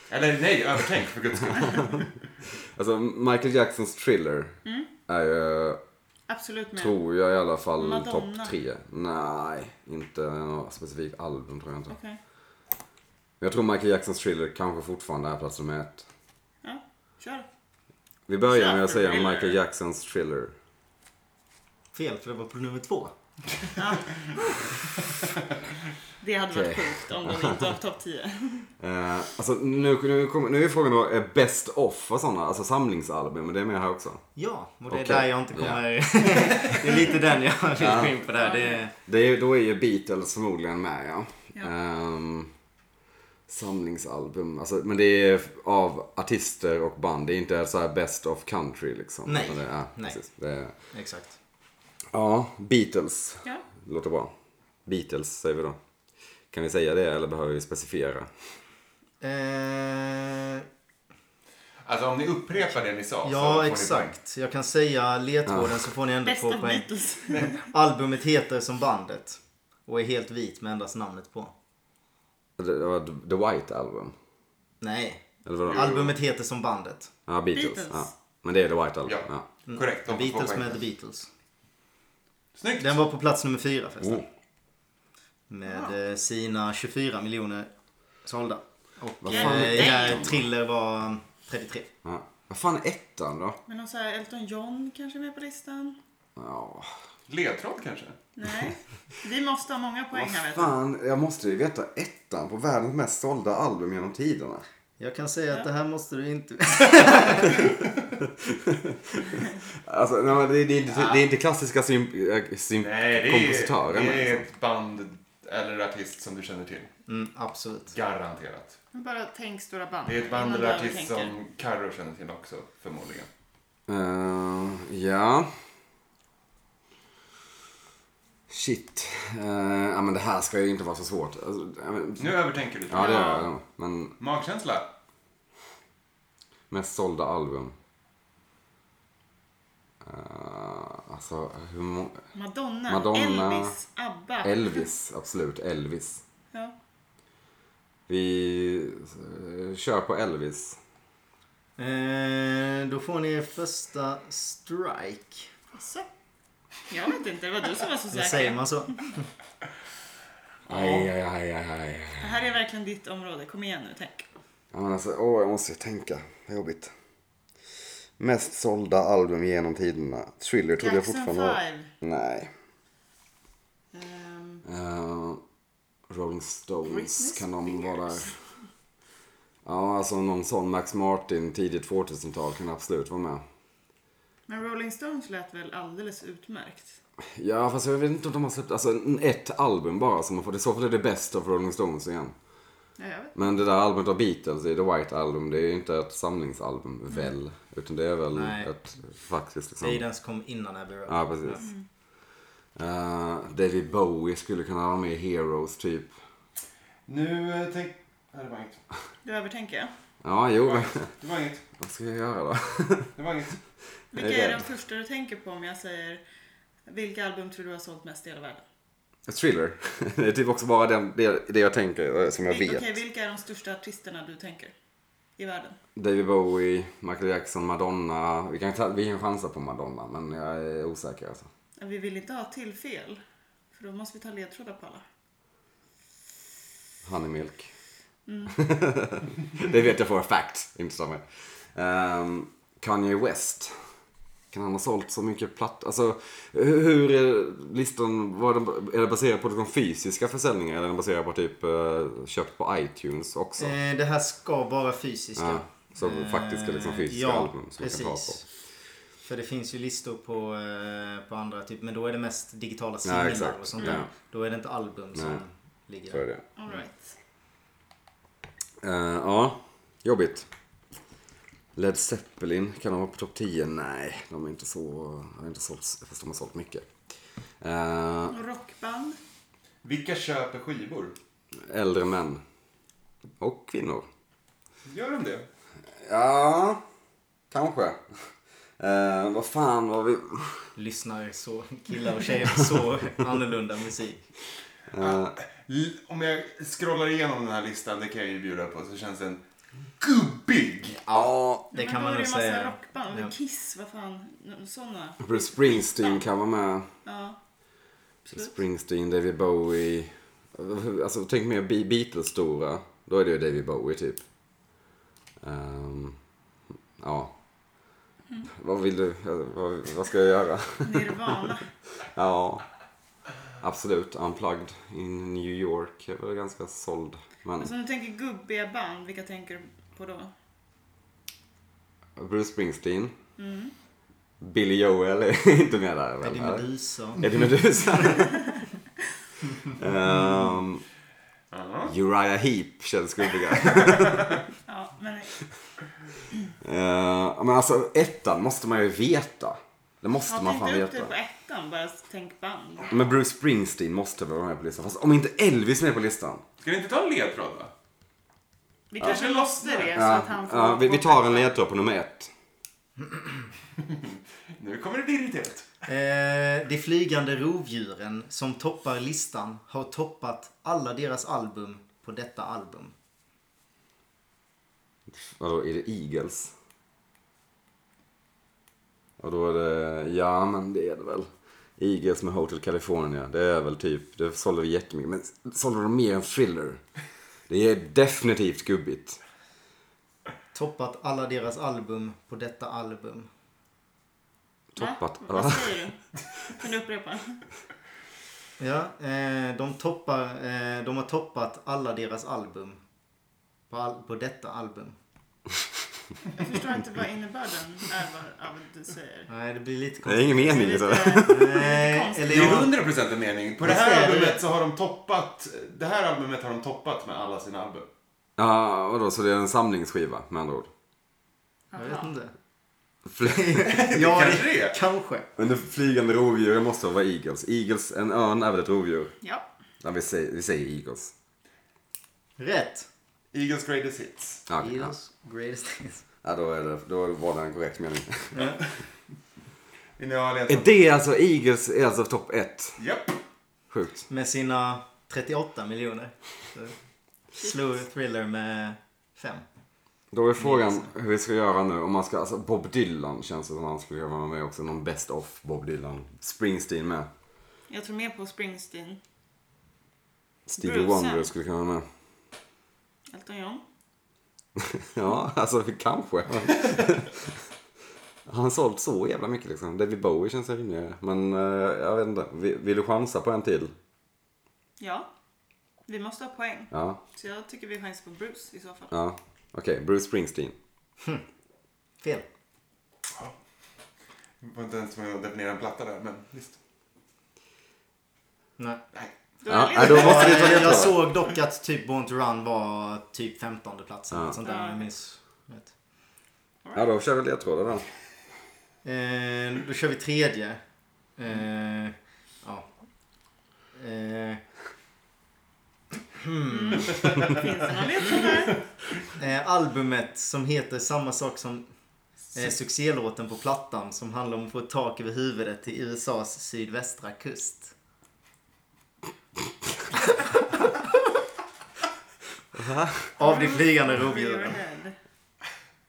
S2: Eller nej, övertänk för guds skull.
S1: Alltså Michael Jacksons thriller
S4: Mm.
S1: är ju,
S4: Absolut med.
S1: tror jag i alla fall,
S4: Madonna.
S1: topp tre. Nej, inte något specifikt album tror jag inte.
S4: Okej.
S1: Men Jag tror Michael Jacksons thriller kanske fortfarande är plats nummer ett.
S4: Ja, kör.
S1: Vi börjar
S4: Kör
S1: med att
S4: för
S1: säga
S4: thriller.
S1: Michael Jacksons thriller.
S3: Fel, för det var på nummer två.
S4: Det hade varit
S1: Okej.
S4: sjukt om den inte var på topp 10.
S1: Eh, alltså nu, nu, kommer, nu är frågan då, är best of och sådana, alltså samlingsalbum, men det är med här också.
S3: Ja, och det är
S1: Okej.
S3: där jag inte kommer... det är lite den jag vill gå in på där. Det är...
S1: Det är, ju- då är ju Beatles förmodligen med ja.
S4: Ja.
S1: Ehm, samlingsalbum, alltså, men det är av artister och band. Det är inte så här best of country liksom.
S3: Nej.
S1: Utan Det är,
S3: Nej.
S1: Precis, det är,
S3: Exakt.
S1: ja, Beatles.
S4: Ja.
S1: Låter bra. Beatles säger vi då. Kan vi säga det eller behöver vi specificera?
S3: Eh,
S2: Alltså om ni upprepar det ni sa så får
S3: ja,
S2: ni
S3: exakt. Jag kan säga ledtråden så får ni ändå två
S4: Bästa
S3: poäng.
S4: Beatles.
S3: Albumet heter som bandet och är helt vit med endast namnet på.
S1: Det var The White Album.
S3: Nej,
S1: Eller vadå?
S3: albumet heter som bandet.
S1: Ja, Beatles.
S4: Beatles.
S1: Ja. Men det är The White Album.
S2: Ja.
S1: Ja.
S2: Korrekt.
S3: The
S2: de får två
S3: Beatles
S2: poäng.
S3: med The Beatles.
S2: Snyggt!
S3: Den var på plats nummer fyra förresten.
S1: Oh. Ah.
S3: Med eh, sina 24 miljoner sålda. Och
S4: fan?
S3: eh,
S4: Damn.
S3: Thriller var um, 33.
S1: Ja. Vad fan är ettan då?
S4: Men någon så här Elton John kanske är med på listan?
S1: Ja.
S2: Ledtråd kanske?
S1: Mm.
S4: Nej. Vi måste ha många poäng
S1: Vad
S4: här vet du.
S1: fan, jag måste ju veta ettan på världens mest sålda album genom tiderna.
S3: Jag kan säga att det här måste du inte...
S1: Alltså, nej, men det, det, är inte- det är inte klassiska sym, äh, sym,
S2: Nej, det är,
S1: kompositören.
S2: det är
S1: liksom.
S2: ett band eller artist som du känner till.
S3: Mm, absolut.
S2: Garanterat.
S4: Men Bara tänk stora band.
S2: Det är ett band
S4: innan
S2: eller
S4: du
S2: artist
S4: övertänker.
S2: som Carro känner till också förmodligen.
S1: Eh, ja. Shit. Eh, ja, men det här ska ju inte vara så svårt. Alltså, ja, men,
S2: Nu övertänker du.
S1: ja, det är det. Men
S2: Magkänsla?
S1: mest sålda album. Eh, alltså, hur många?
S4: Madonna,
S1: Madonna,
S4: Elvis, ABBA.
S1: Elvis, absolut. Elvis.
S4: ja.
S1: Vi eh, kör på Elvis.
S3: Eh, då får ni er första strike.
S4: Så. Jag vet inte, det var du som var så
S3: Eller säger
S4: säker.
S3: man så?
S1: Aj, aj, aj, aj, aj.
S4: Det här är verkligen ditt område. Kom igen nu, tänk.
S1: Ja, men alltså, åh, jag måste ju tänka. Vad jobbigt. Mest sålda album genom tiderna. Thriller trodde jag
S4: Jackson
S1: fortfarande var...
S4: 5.
S1: Nej.
S4: Ehm,
S1: Eh, Rolling Stones
S4: Britney
S1: kan de
S4: Spears.
S1: vara där. Ja, alltså någon sån Max Martin tidigt 2000-tal kan absolut vara med.
S4: men Rolling Stones lät väl alldeles utmärkt?
S1: Ja, fast jag vet inte om de har släppt, alltså en- ett album bara som har fått, i så fall är det bäst av Rolling Stones igen.
S4: Ja, jag vet.
S1: Men det där albumet av Beatles, det är The White Album, det är ju inte ett samlingsalbum väl? Utan det är väl
S3: Mm. Nej.
S1: ett faktiskt
S3: Det Mm. är
S1: liksom...
S3: ju den som kom innan Abbey Road.
S1: Ja, precis. Eh, David Bowie skulle kunna vara med i Heroes typ.
S2: Nu eh, tänk... Nej, det var inget.
S4: Du övertänker jag.
S1: Ja,
S2: Det
S1: jo.
S2: var inget. Det var inget.
S1: Vad ska jag göra då?
S2: Det var inget.
S1: Jag är
S4: Vilka är
S1: rädd.
S4: de första du tänker på om jag säger vilka album tror du har sålt mest i hela världen?
S1: A thriller. Det är typ också bara den, det, det jag tänker eh, som jag
S4: Vil-
S1: vet.
S4: Okej, vilka är de största artisterna du tänker i världen?
S1: David Bowie, Michael Jackson, Madonna. Vi kan, ta, vi kan chansa på Madonna, men jag är osäker alltså.
S4: Vi vill inte ha till fel, för då måste vi ta ledtrådar på alla.
S1: Honeymilk.
S3: Mm.
S1: det vet jag for a fact. Inte samma. Ehm, Kanye West. Kan han ha sålt så mycket platt? Alltså, hur hur är listan? Var den, är den baserad på de fysiska försäljningar eller är den baserad på typ eh, köpt på iTunes också?
S3: Eh, det här ska vara fysiska.
S1: Ja, så faktiska, liksom, fysiska
S3: Eh, ja,
S1: album som man kan
S3: precis.
S1: ta
S3: För det finns ju listor på, eh, på andra typ, men då är det mest digitala
S1: Ja,
S3: singlar
S1: exakt.
S3: och sånt där.
S1: Ja.
S3: Då är det inte album som
S1: Nej.
S3: ligger
S1: Så är
S3: där.
S1: det.
S4: All right.
S1: Eh, ja, jobbigt. Led Zeppelin, kan de vara på topp 10? Nej, de är inte så... Har inte sålt, fast de har sålt mycket. Eh,
S4: Och Rockband?
S2: Vilka köper skivor?
S1: Äldre män. Och kvinnor.
S2: Gör de det?
S1: Ja, kanske. Eh, vad fan var vi...
S3: Lyssnar så, killar och tjejer på så annorlunda musik.
S2: L- Om jag scrollar igenom den här listan, det kan jag ju bjuda på, så känns den gubbig.
S1: Ja,
S3: Det kan
S4: Men
S3: man
S4: då är
S3: nog
S4: det massa
S3: säga.
S4: rockband.
S3: Ja.
S4: Kiss, vad fan. Sådana.
S1: Bruce Springsteen kan vara med.
S4: Ja.
S1: Springsteen, David Bowie. Alltså tänk mer Be- Beatles stora. Då är det ju David Bowie typ. Ehm, ja. Vad vill du? Vad, vad ska jag göra?
S4: Nirvana.
S1: ja. Absolut. Unplugged in New York. Jag var ganska såld. Men
S4: Alltså om du tänker gubbiga band, vilka tänker du på då?
S1: Bruce Springsteen. Billy Joel Mm. är inte med där. väl,
S3: Eddie
S1: eller?
S3: Meduza.
S1: Eddie Meduza. um,
S2: Ja.
S1: Uriah Heep känns gubbiga.
S4: Ja, men
S1: Eh, men alltså ettan måste man ju veta. Det måste
S4: ha
S1: man
S4: inte
S1: fan
S4: upp
S1: veta.
S4: det på ettan, bara tänk band.
S1: Men Bruce Springsteen måste väl vara med på listan. Fast om inte Elvis är med på listan.
S2: Ska vi inte ta en ledtråd då?
S4: Vi kanske
S2: det
S4: måste
S2: lossnar.
S4: det så
S1: Ja,
S4: att han får...
S1: ja, vi, vi tar en ledtråd på nummer ett.
S2: Nu kommer det bli irriterat.
S3: Eh, de flygande rovdjuren som toppar listan har toppat alla deras album på detta album.
S1: Vadå, är det Eagles? Och då är det, ja men det är det väl. Eagles med Hotel California, det är väl typ, det sålde vi jättemycket. Men sålde de mer än Thriller? Det är definitivt gubbigt.
S3: Toppat alla deras album på detta album.
S1: Toppat.
S4: Va? Vad säger du? Kan du upprepa?
S3: Ja, eh, de, toppar, eh, de har toppat alla deras album på, all, på detta album.
S4: Jag förstår inte vad innebörden är vad- av det du säger.
S3: Nej, det blir lite
S1: Det är
S3: konstigt.
S1: ingen
S4: Det är
S1: mening. Så.
S4: lite-
S3: Nej,
S4: konstigt.
S3: eller
S2: Det är
S3: jag,
S2: 100% en mening. På det
S3: Visst är
S2: här
S3: det-
S2: albumet så har de toppat, det här albumet har de toppat med alla sina album.
S1: Ja, vadå, så det är en samlingsskiva med andra ord?
S3: jag vet inte.
S1: Fly-
S3: Ja,
S2: kanske det är.
S3: Kanske.
S1: Men det flygande rovdjuren måste vara eagles. Eagles, en örn är väl ett rovdjur?
S4: Ja.
S1: Ja, vi säger, vi säger eagles.
S3: Rätt.
S2: Eagles Greatest Hits.
S1: Ja, okej, ja.
S3: Beatles greatest hits.
S1: ja då, är det, då var det en korrekt mening.
S3: Ja.
S2: Vill ni ha
S1: Är
S2: ledtråd?
S1: det alltså, eagles är alltså topp ett?
S2: Japp.
S1: Sjukt.
S3: Med sina 38 miljoner. Så Slog Thriller med 5.
S1: Då är frågan hur vi ska göra nu om man ska, alltså Bob Dylan känns det som han skulle kunna vara med också. Någon best of Bob Dylan. Springsteen med.
S4: Jag tror mer på Springsteen.
S1: Stevie
S4: Bruce.
S1: Wonder skulle kunna vara med.
S4: Elton John.
S1: Ja, alltså kanske. Han har sålt så jävla mycket liksom. David Bowie känns rimligare. Men eh, jag vet inte. Vill, vill du chansa på en till?
S4: Ja. Vi måste ha poäng.
S1: Ja,
S4: Så jag tycker vi chansar på Bruce i så fall.
S1: ja. Okej, Bruce Springsteen.
S3: Fel.
S2: Det var inte ens med att definiera en platta där, men visst.
S3: Nej.
S2: Nej.
S4: Då
S1: Ja,
S4: är
S1: nej,
S4: det
S1: då
S4: lite-
S1: måste vi ta
S3: Jag,
S1: ledtrådar.
S3: jag såg dock att typ Born to Run var typ 15 plats eller något sånt där. om Jag minns. rätt.
S1: Ja, då kör vi ledtrådar då.
S3: Eh, då kör vi tredje. Eh, ja. Eh,
S4: Finns det någon ledtråd där?
S3: eh, albumet som heter samma sak som eh, succélåten på plattan som handlar om att få ett tak över huvudet till USAs sydvästra kust. Av de flygande rovdjuren.
S4: Radiohead.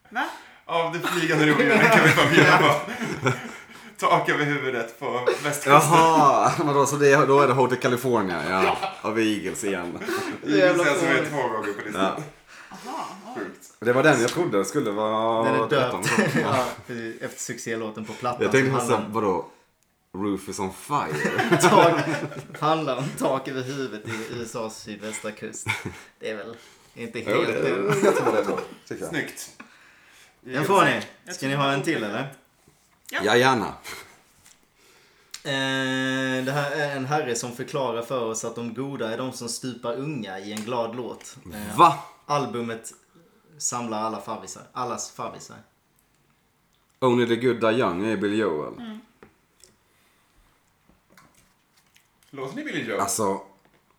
S4: Va?
S2: Av det flygande rovdjuren kan vi bara bjuda på. Tak över huvudet på västkusten.
S1: Jaha, vadå, så det, då är det Hotel California. Ja, av Eagles igen.
S2: Eagles är alltså med två gånger på listan.
S4: Jaha, oj.
S2: Sjukt.
S1: Det var den jag trodde skulle vara...
S3: Den är
S1: ettan.
S3: döpt ja, efter succélåten på plattan.
S1: Jag tänkte
S3: som handlar
S1: först
S3: om
S1: vadå? Roof is on fire.
S3: tak, handlar om tak över huvudet i USAs sydvästra kust. Det är väl inte
S1: Jo,
S3: helt
S1: det är
S3: dumt.
S1: en jättebra ledtråd, tycker jag.
S2: Snyggt.
S3: Den får ni. Ska ni ha en till eller?
S1: Ja, gärna.
S3: Eh, det här är en herre som förklarar för oss att de goda är de som stupar unga i en glad låt. Eh,
S1: Va?
S3: albumet samlar alla farvisar. Allas farvisar.
S1: Only the good die young är Bill Joel.
S2: Låter ni Billy Joe?
S1: Alltså,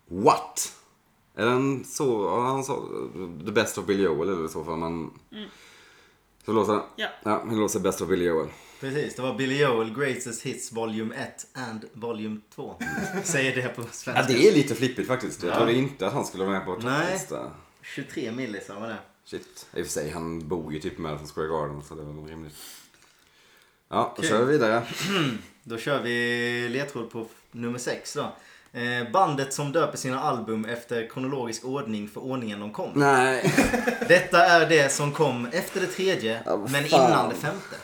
S1: what? Är den så, ja, han sa The Best of Billy Joel eller så för man... Så låter den?
S4: Ja.
S1: Ja, den låter Best of Billy Joel.
S3: Precis, det var Billy Joel, Greatest Hits Volume 1 and Volume 2. Säger det på svenska.
S1: Ja, det är lite flippigt faktiskt. Jag trodde inte att han skulle vara med på
S3: Nej.
S1: topplista.
S3: 23 millisar var det.
S1: Shit. I och för sig, han bor ju typ med från Square Garden så det var väl rimligt. Ja, då kör vi vidare.
S3: Då kör vi ledtråd på f- nummer 6 då. Eh, bandet som döper sina album efter kronologisk ordning för ordningen de kom.
S1: Nej.
S3: Detta är det som kom efter det tredje
S1: Ja, vad
S3: men
S1: fan.
S3: innan det femte.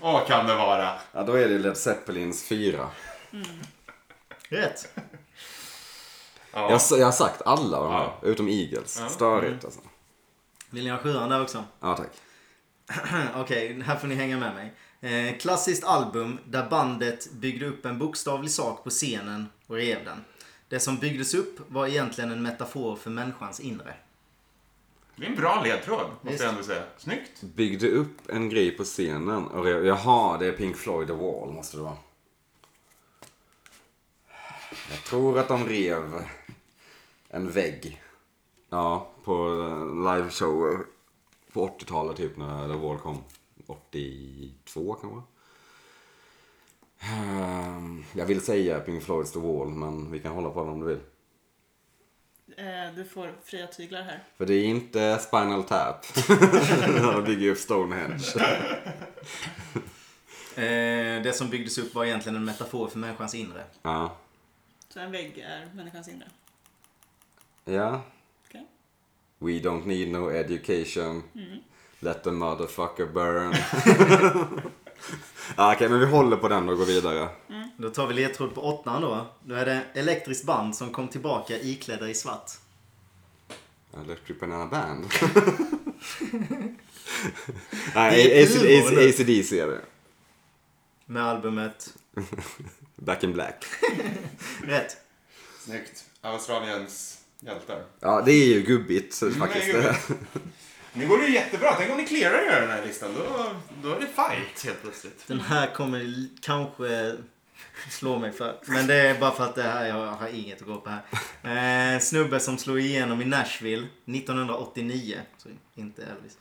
S2: Åh, kan det vara.
S1: Ja, då är det Led Zeppelins 4.
S3: Rätt.
S1: Jag, s- jag har sagt alla de här, utom Eagles.
S2: Ja.
S1: Störigt alltså.
S3: Vill ni ha sjuan där också?
S1: Ja, tack.
S3: Okej, här får ni hänga med mig. Eh, klassiskt album där bandet byggde upp en bokstavlig sak på scenen och rev den. Det som byggdes upp var egentligen en metafor för människans inre.
S2: Det är en bra ledtråd,
S3: Visst.
S2: måste jag ändå säga. Snyggt.
S1: Byggde upp en grej på scenen och rev... Jaha, det är Pink Floyd The Wall måste det vara. Jag tror att de rev en vägg. Ja, på eh, liveshower på 80-talet typ när The Wall kom. 82 kanske? Ehm, Jag vill säga Pink Floyds The Wall men vi kan hålla på den om du vill.
S4: Eh, Du får fria tyglar här.
S1: För det är inte Spinal Tap. De bygger upp Stonehenge.
S3: Eh, det som byggdes upp var egentligen en metafor för människans inre.
S1: Ja.
S4: Så en vägg är människans inre.
S1: Ja,
S4: Okej.
S1: We don't need no education. Let the motherfucker burn. ah, Okej, men vi håller på den och går vidare.
S3: Då tar vi ledtråd på åttan då. Då är det elektriskt band som kom tillbaka iklädda i svart.
S1: Electric Banana Band.
S3: Det
S1: Nej,
S3: är
S1: AC-
S3: humor, eller?
S1: AC- ACDC är det.
S3: Med albumet
S1: Back in Black.
S3: Rätt.
S2: Snyggt. Australiens hjältar.
S1: Ja, det är ju Mm. gubbigt faktiskt.
S2: Nej, gud. Nu går det ju jättebra. Tänk om ni clearar er den här listan. Då, då är det fight helt plötsligt.
S3: Den här kommer l- kanske slå mig för. Men det är bara för att det här, jag har inget att gå på här. Eh, snubbe som slog igenom i Nashville 1989. Så inte Elvis.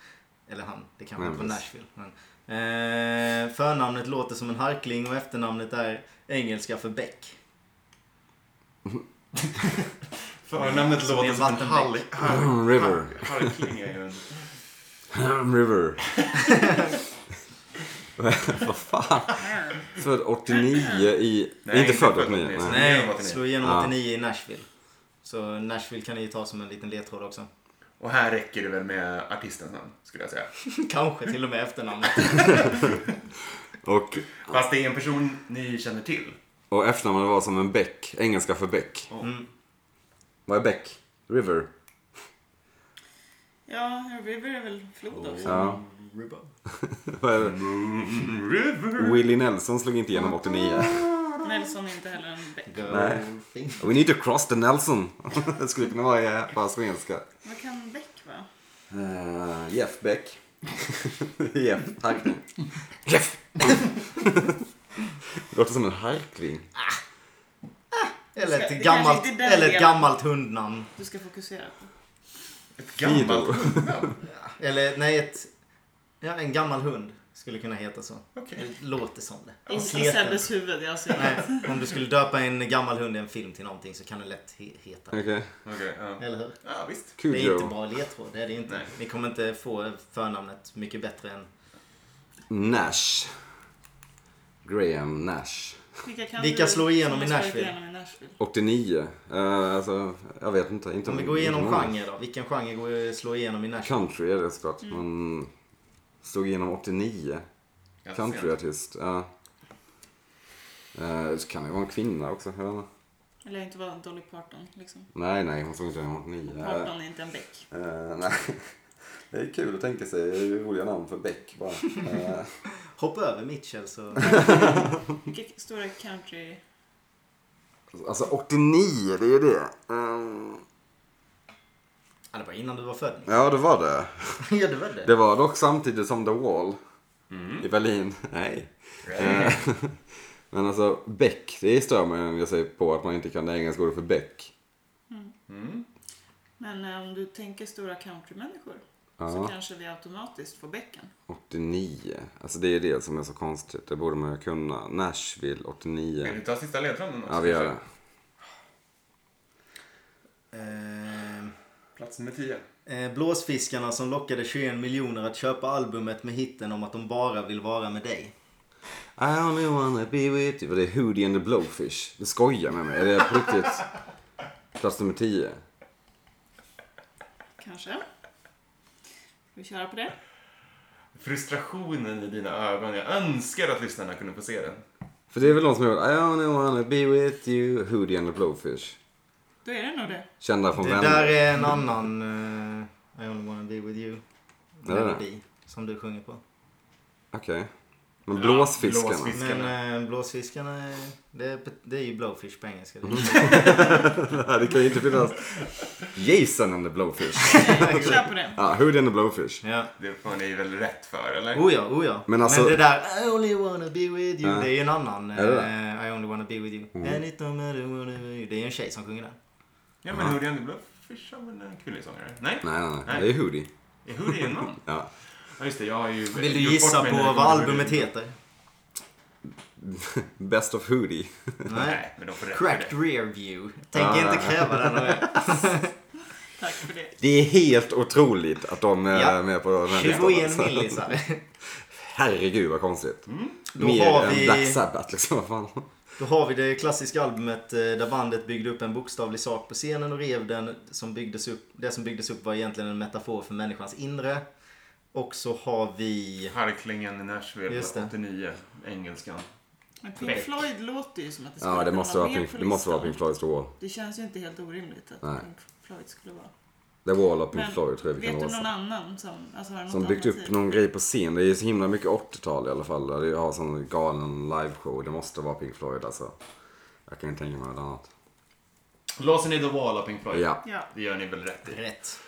S3: Eller han, det kanske inte var
S1: Elvis.
S3: Nashville. Men. Eh, förnamnet låter som en harkling och efternamnet är engelska för bäck.
S2: Förnamnet
S3: Som i
S2: låter
S3: en
S2: som en hall...
S3: vattenbäck.
S2: har-
S1: Mm, River. Mm,
S2: Harkling är ju en...
S1: River. Vad fan?
S4: Mm.
S1: Född 89 i...
S2: Nej,
S1: inte
S2: inte
S1: född
S2: född
S1: 89.
S2: 89,
S1: Nej.
S2: Nej,
S3: Nej,
S2: 89.
S3: slog igenom
S1: Ja.
S3: 89 i Nashville. Så Nashville kan ni ju ta som en liten ledtråd också.
S2: Och här räcker det väl med artistens namn, skulle jag säga.
S3: Kanske till och med efternamnet.
S1: Och,
S2: Fast det är en person ni känner till.
S1: och efternamnet var som en bäck. Engelska för bäck. Vad är bäck? River.
S4: Ja, River är väl flod också.
S1: Ja.
S3: Rubber.
S1: Vad är det?
S2: River.
S1: Willie Nelson slog inte igenom 89.
S3: Oh.
S4: Nelson är inte heller en bäck.
S1: Nej.
S3: Fint.
S1: We need to cross the Nelson. Det skulle kunna vara i- eh, på svenska.
S4: Vad kan bäck vara?
S1: Eh, Jeff Beck. Jeff Harkling. Jeff! Låter som en harkling.
S3: Eller ett,
S4: Det
S3: gammalt,
S4: kanske inte är den
S3: eller ett
S4: delen.
S3: gammalt hundnamn.
S4: Du ska fokusera på.
S2: Ett gammalt hundnamn.
S3: Eller nej, ett, ja, en gammal hund skulle kunna heta så.
S2: Okej.
S3: Det låter som det.
S4: Inte i
S3: Sleten.
S4: Sebbes huvud, jag ser det.
S3: Nej, om du skulle döpa en gammal hund i en film till någonting så kan den lätt he- heta det.
S1: Okej.
S2: Okej, ja.
S3: Eller hur?
S2: Ja, visst.
S3: Det är inte
S1: Cujo.
S3: bara ledtråd, det är det inte.
S2: Nej.
S3: Ni kommer inte få förnamnet mycket bättre än...
S1: Nash. Graham Nash.
S4: Vilka, kan
S3: Vilka
S4: du-
S3: slår igenom
S4: som
S3: i
S4: har slagit
S3: Nashville?
S4: igenom i Nashville?
S1: 89. Uh, alltså, jag vet inte. inte
S3: Om vi går igenom genre då. Vilken genre går, slår igenom i Nashville?
S1: Country är det såklart. Men slog igenom 89.
S2: Ganska sent.
S1: Countryartist. Ja. Eh, så kan det vara en kvinna också. Jag vet inte.
S4: Eller inte vara Dolly Parton liksom.
S1: Nej, nej, hon slog inte igenom 89. Eh,
S4: Parton är inte en bäck.
S1: eh, nej. Det är kul att tänka sig Det är ju roliga namn för Beck bara. Eh,
S3: Hoppa över Mitchell så...
S4: Vilka stora country...
S1: alltså 89, det är ju det. Eh,
S3: Ja, det var innan du var född.
S1: ja, det var det.
S3: ja, det var det.
S1: Det var dock samtidigt som The Wall i Berlin. Nej. Eh, Men alltså Beck, det stör mig när jag säger på att man inte kan det engelska ordet för Beck.
S2: Mm.
S4: Men eh, om du tänker stora countrymänniskor så
S1: Ja,
S4: kanske vi automatiskt får bäcken.
S1: 89. Alltså det är det som är så konstigt. Det borde man ju kunna. Nashville
S2: Vill
S1: 89.
S2: du ta sista ledtråden också?
S1: Ja, vi gör det.
S3: Ehm,
S2: Plats nummer 10.
S3: Eh, blåsfiskarna som lockade 21 miljoner att köpa albumet med hitten om att de bara vill vara med dig.
S1: I only wanna be with you. Var det Hootie and the Blowfish? Du skojar med mig. Är det på riktigt? Plats nummer 10.
S4: Kanske. Ska vi köra på det?
S2: Frustrationen i dina ögon. Jag önskar att lyssnarna kunde få se den.
S1: För det är väl någon som har gjort I only wanna be with you. Hootie and the Blowfish.
S4: Då är det nog det.
S1: Kända från
S3: Det där
S1: vänner.
S3: är en annan eh, I only wanna be with you
S1: Ja, det är det.
S3: melodi som du sjunger på.
S1: Okej. Men
S2: Ja,
S1: blåsfiskarna.
S2: blåsfisk. Fiskarna.
S3: Men eh, blåsfiskarna, är- det är, det är ju blowfish på engelska.
S1: Mm.
S3: Det är-
S1: det kan ju inte finnas. Jason and the Blowfish.
S4: Nej, kör på det.
S1: Ja, Hootie and the Blowfish.
S3: Ja.
S2: Det får ni väl rätt för, eller?
S3: Oh ja, oh ja.
S1: Men
S3: Men,
S1: alltså-
S3: det där I only wanna be with
S1: Ja.
S3: you. Det är ju en annan.
S1: Är det det? Mm.
S3: eh, I only wanna be with you. And it don't matter what I do. Det är ju en tjej som sjunger den.
S2: Ja, men Hoodie and the Blowfish har väl en kvinnlig sångare? Nej?
S1: Nej, nej, nej.
S2: Nej.
S1: Det är Hootie.
S2: Är Hoodie en man?
S1: Ja.
S2: Ja, just det. Jag har ju
S3: Vill du
S2: gjort
S3: gissa
S2: bort mig
S3: på
S2: när det
S3: vad
S2: kommer till
S3: albumet
S2: Hoodie.
S3: heter?
S1: Best of Hootie.
S3: Nej.
S2: Nej, men de får rätt för det.
S3: Cracked rear view. Tänker
S1: Ah.
S3: inte kräva den av er.
S4: Tack för det.
S1: Det är helt otroligt att de är
S3: Ja.
S1: med på den här listan.
S3: 21
S1: Så-
S3: millisar.
S1: Herregud vad konstigt.
S4: Mm.
S3: Då
S1: Mer
S3: har
S1: än
S3: vi-
S1: Black Sabbath liksom. Vad fan.
S3: Då har vi det klassiska albumet eh, där bandet byggde upp en bokstavlig sak på scenen och rev den. Som byggdes upp, det som byggdes upp var egentligen en metafor för människans inre. Och så har vi...
S2: Harklingen i Nashville,
S3: Just det.
S2: 89. Engelskan.
S4: Men Pink
S2: Bäck.
S4: Floyd låter ju som att det skulle
S1: Ja, det
S4: kunna
S1: måste vara
S4: med
S1: Pink,
S4: på
S1: det måste vara
S4: listan.
S1: Pink Floyds The Wall.
S4: Det känns ju inte helt orimligt att
S1: Nej.
S4: Pink Floyd skulle vara.
S1: The Wall och Pink
S4: Men
S1: Floyd tror jag vi
S4: vet
S1: kan
S4: du
S1: låsa.
S4: någon annan som, alltså har du något
S1: Som byggt upp
S4: alternativ?
S1: någon grej på scen. Det är så himla mycket 80-tal i alla fall. Där det har sån galen liveshow. Det måste vara Pink Floyd alltså. Jag kan inte tänka mig något annat.
S2: Låser ni The Wall av Pink Floyd?
S1: Ja.
S4: Ja,
S2: Det gör ni väl rätt i.
S3: Rätt.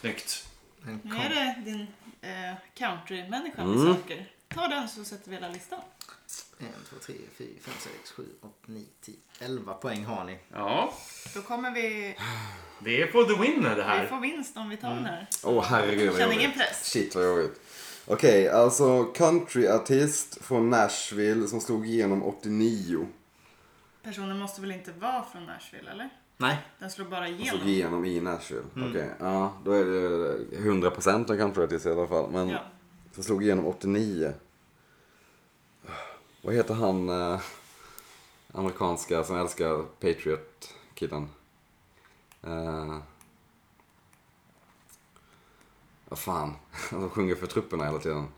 S2: Snyggt.
S3: En
S4: nu
S3: kom-
S4: är det din eh, countrymänniska vi
S1: Mm.
S4: söker. Ta den så sätter vi hela listan.
S3: 1, 2, 3, 4, 5, 6, 7, 8, 9, 10, 11 poäng har ni.
S2: Ja,
S4: Då kommer vi,
S2: det är på the winner det
S4: vi
S2: här.
S4: får vinst om vi tar den här.
S1: Åh herregud Mm. vad
S4: Känner
S1: jobbigt.
S4: ingen press.
S1: Shit vad jobbigt. Okej, alltså countryartist från Nashville som slog igenom 89.
S4: Personen måste väl inte vara från Nashville eller?
S3: Nej.
S4: Den slår bara
S1: Och slog
S4: igenom.
S1: igenom i Nashville.
S4: Mm.
S1: Okej, ja då är det 100% en countryartist i alla fall. Men
S4: Ja.
S1: som slog igenom 89. Vad heter han eh, amerikanska som älskar Patriot-killen? Eh, vad fan, han sjunger för trupperna hela tiden.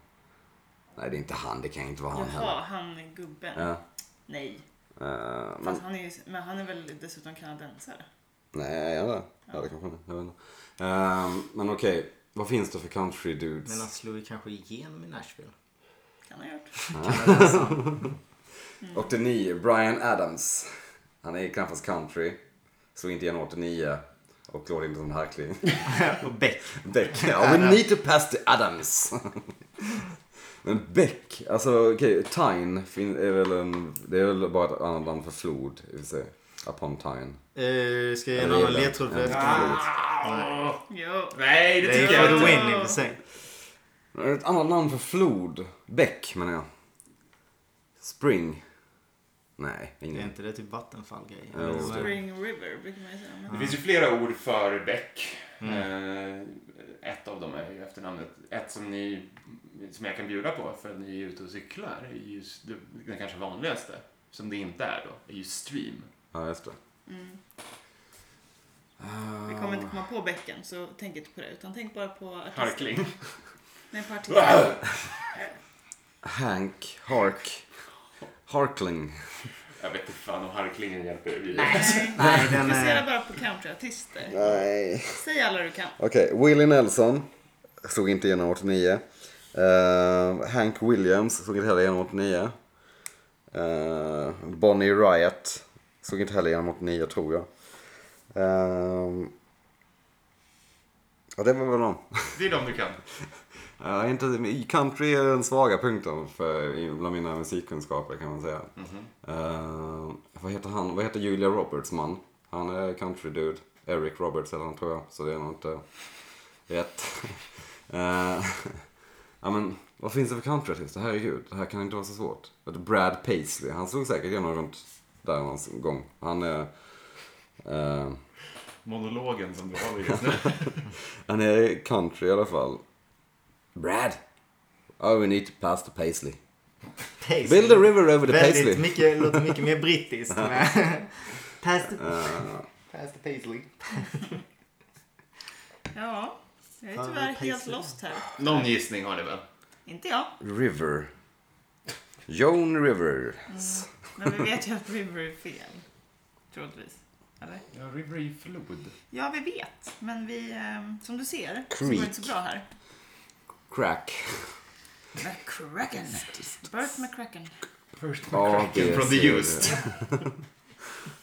S1: Nej det är inte han, det kan inte vara han heller.
S4: Jaha, han är gubben.
S1: Ja,
S4: Nej,
S1: eh, men,
S4: fast han är, ju- men han är väl dessutom kanadensare.
S1: nej, är det? Ja, det kanske han är. Jag vet inte. Eh, men okej, vad finns det för country dudes?
S3: Men han slog ju kanske igenom i Nashville.
S4: Kan ha gjort.
S1: 89, Brian Adams. Han är knappast country. Slog inte igenom 89. Och låter inte som harkling.
S3: Och Beck.
S1: Beck. Ja, we need to pass the Adams. Men Beck, alltså okej, Tyne fin- är väl en, det är väl bara ett annat namn för flod i och för sig. Upon Tyne.
S3: Eh, ska jag ge
S1: Eller
S3: en annan
S1: Irland.
S3: ledtråd för
S1: Ja,
S3: efter?
S1: flod.
S2: Ah,
S4: Jo.
S2: Nej, det
S3: Det är
S2: tycker jag
S3: för
S4: Irland.
S3: the
S2: inte.
S3: win i och för sig.
S1: Det är Ett annat namn för flod. Beck menar jag. Spring. Nej,
S3: Det är
S1: ingen.
S3: inte det typ vattenfallgrejer?
S1: Mm. Ja, just det.
S4: Spring River brukar man ju säga.
S2: Det
S4: Men...
S2: finns ju flera ord för Beck.
S3: Mm.
S2: Eh, ett av dem är ju efternamnet. Ett som ni som jag kan bjuda på för att ni är ute och cyklar. är ju s- det- Den kanske vanligaste, som det inte är då, är ju stream.
S1: Ja, just det.
S4: Mm. Vi kommer inte komma på bäcken så tänk inte på det utan tänk bara på artister.
S2: Harkling.
S4: Nej, på artister.
S1: Hank, Hark. Harkling.
S2: Jag vet inte fan om harklingen hjälper er vidare.
S4: Nej,
S3: Nej, den
S4: fokusera
S3: är...
S4: bara på countryartister.
S1: Nej.
S4: Säg alla du kan.
S1: Okej, Willie Nelson slog inte igenom 89. Eh, Hank Williams slog inte heller igenom 89. Eh, Bonnie Riot slog inte heller igenom 89 tror jag. Eh, ja, det var väl dem.
S2: Det är de du kan.
S1: Ja, inte, i country är den svaga punkten för, i- bland mina musikkunskaper kan man säga. Eh, vad heter han? Vad heter Julia Roberts man? Han är country dude. Eric Roberts eller han tror jag. Så det är nog inte rätt. Eh, ja men vad finns det för countryartister? Herregud, det här kan inte vara så svårt. Vet du, Brad Paisley, han slog säkert igenom runt där någon gång. Han är... eh,
S2: Monologen som du håller just nu.
S1: han är country i alla fall. Brad! Oh we need to pass the Paisley.
S3: Paisley.
S1: Build a river over the Paisley.
S3: Väldigt mycket, låter mycket mer brittiskt. Men... Pass the, pass the Paisley.
S4: Ja, jag är
S3: Fan,
S4: tyvärr
S3: pejsen.
S4: helt lost här.
S2: Någon gissning har ni väl?
S4: Inte jag,
S1: River. Joan Rivers.
S4: men vi vet ju att River är fel. Troligtvis. Eller?
S2: Ja, River i flod.
S4: Ja, vi vet. Men vi, eh, som du ser, så går det
S1: Creek.
S4: inte så bra här.
S1: Crack.
S4: McCracken. Burt McCracken.
S2: First
S1: Ja, det
S2: McCracken from
S1: ser
S2: the used.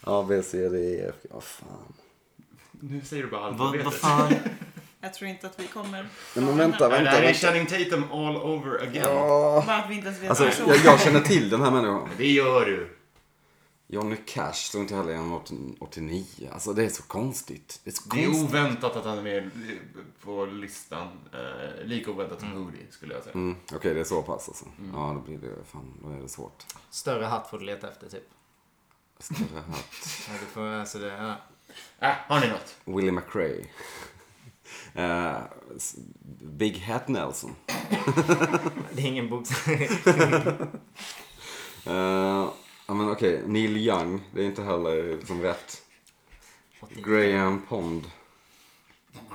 S1: A, B, C, D, E, F, G. Åh fan.
S2: Nu säger du bara
S3: Vad vad
S2: alfabetet.
S3: fan?
S4: Jag tror inte att vi kommer...
S1: Nej men vänta,
S2: Nej, Det
S1: vänta,
S2: här är
S1: vänta.
S2: Channing Tatum all over again.
S1: Åh.
S4: Bara att vi inte ens vet
S1: Alltså,
S4: vad personen
S1: jag, jag känner till den här människan.
S2: Det gör du.
S1: Johnny Cash slog inte heller igenom 89. Alltså det är så konstigt. Det är så
S2: Det är
S1: konstigt.
S2: oväntat att han är med på listan. Eh, lika oväntat som Hoodie, skulle jag säga.
S1: Mm, Okej, det är så pass alltså. Ja, då blir det fan, då är det svårt.
S3: Större hatt får du leta efter typ.
S1: Större hatt.
S3: Ja, du får, alltså det, ja.
S2: Äh, har ni något?
S1: Willie McRae. Eh, s- Big Hat Nelson.
S3: det är ingen bok.
S1: Eh, Ja men okej, Neil Young. Det är inte heller liksom rätt. Graham Pond.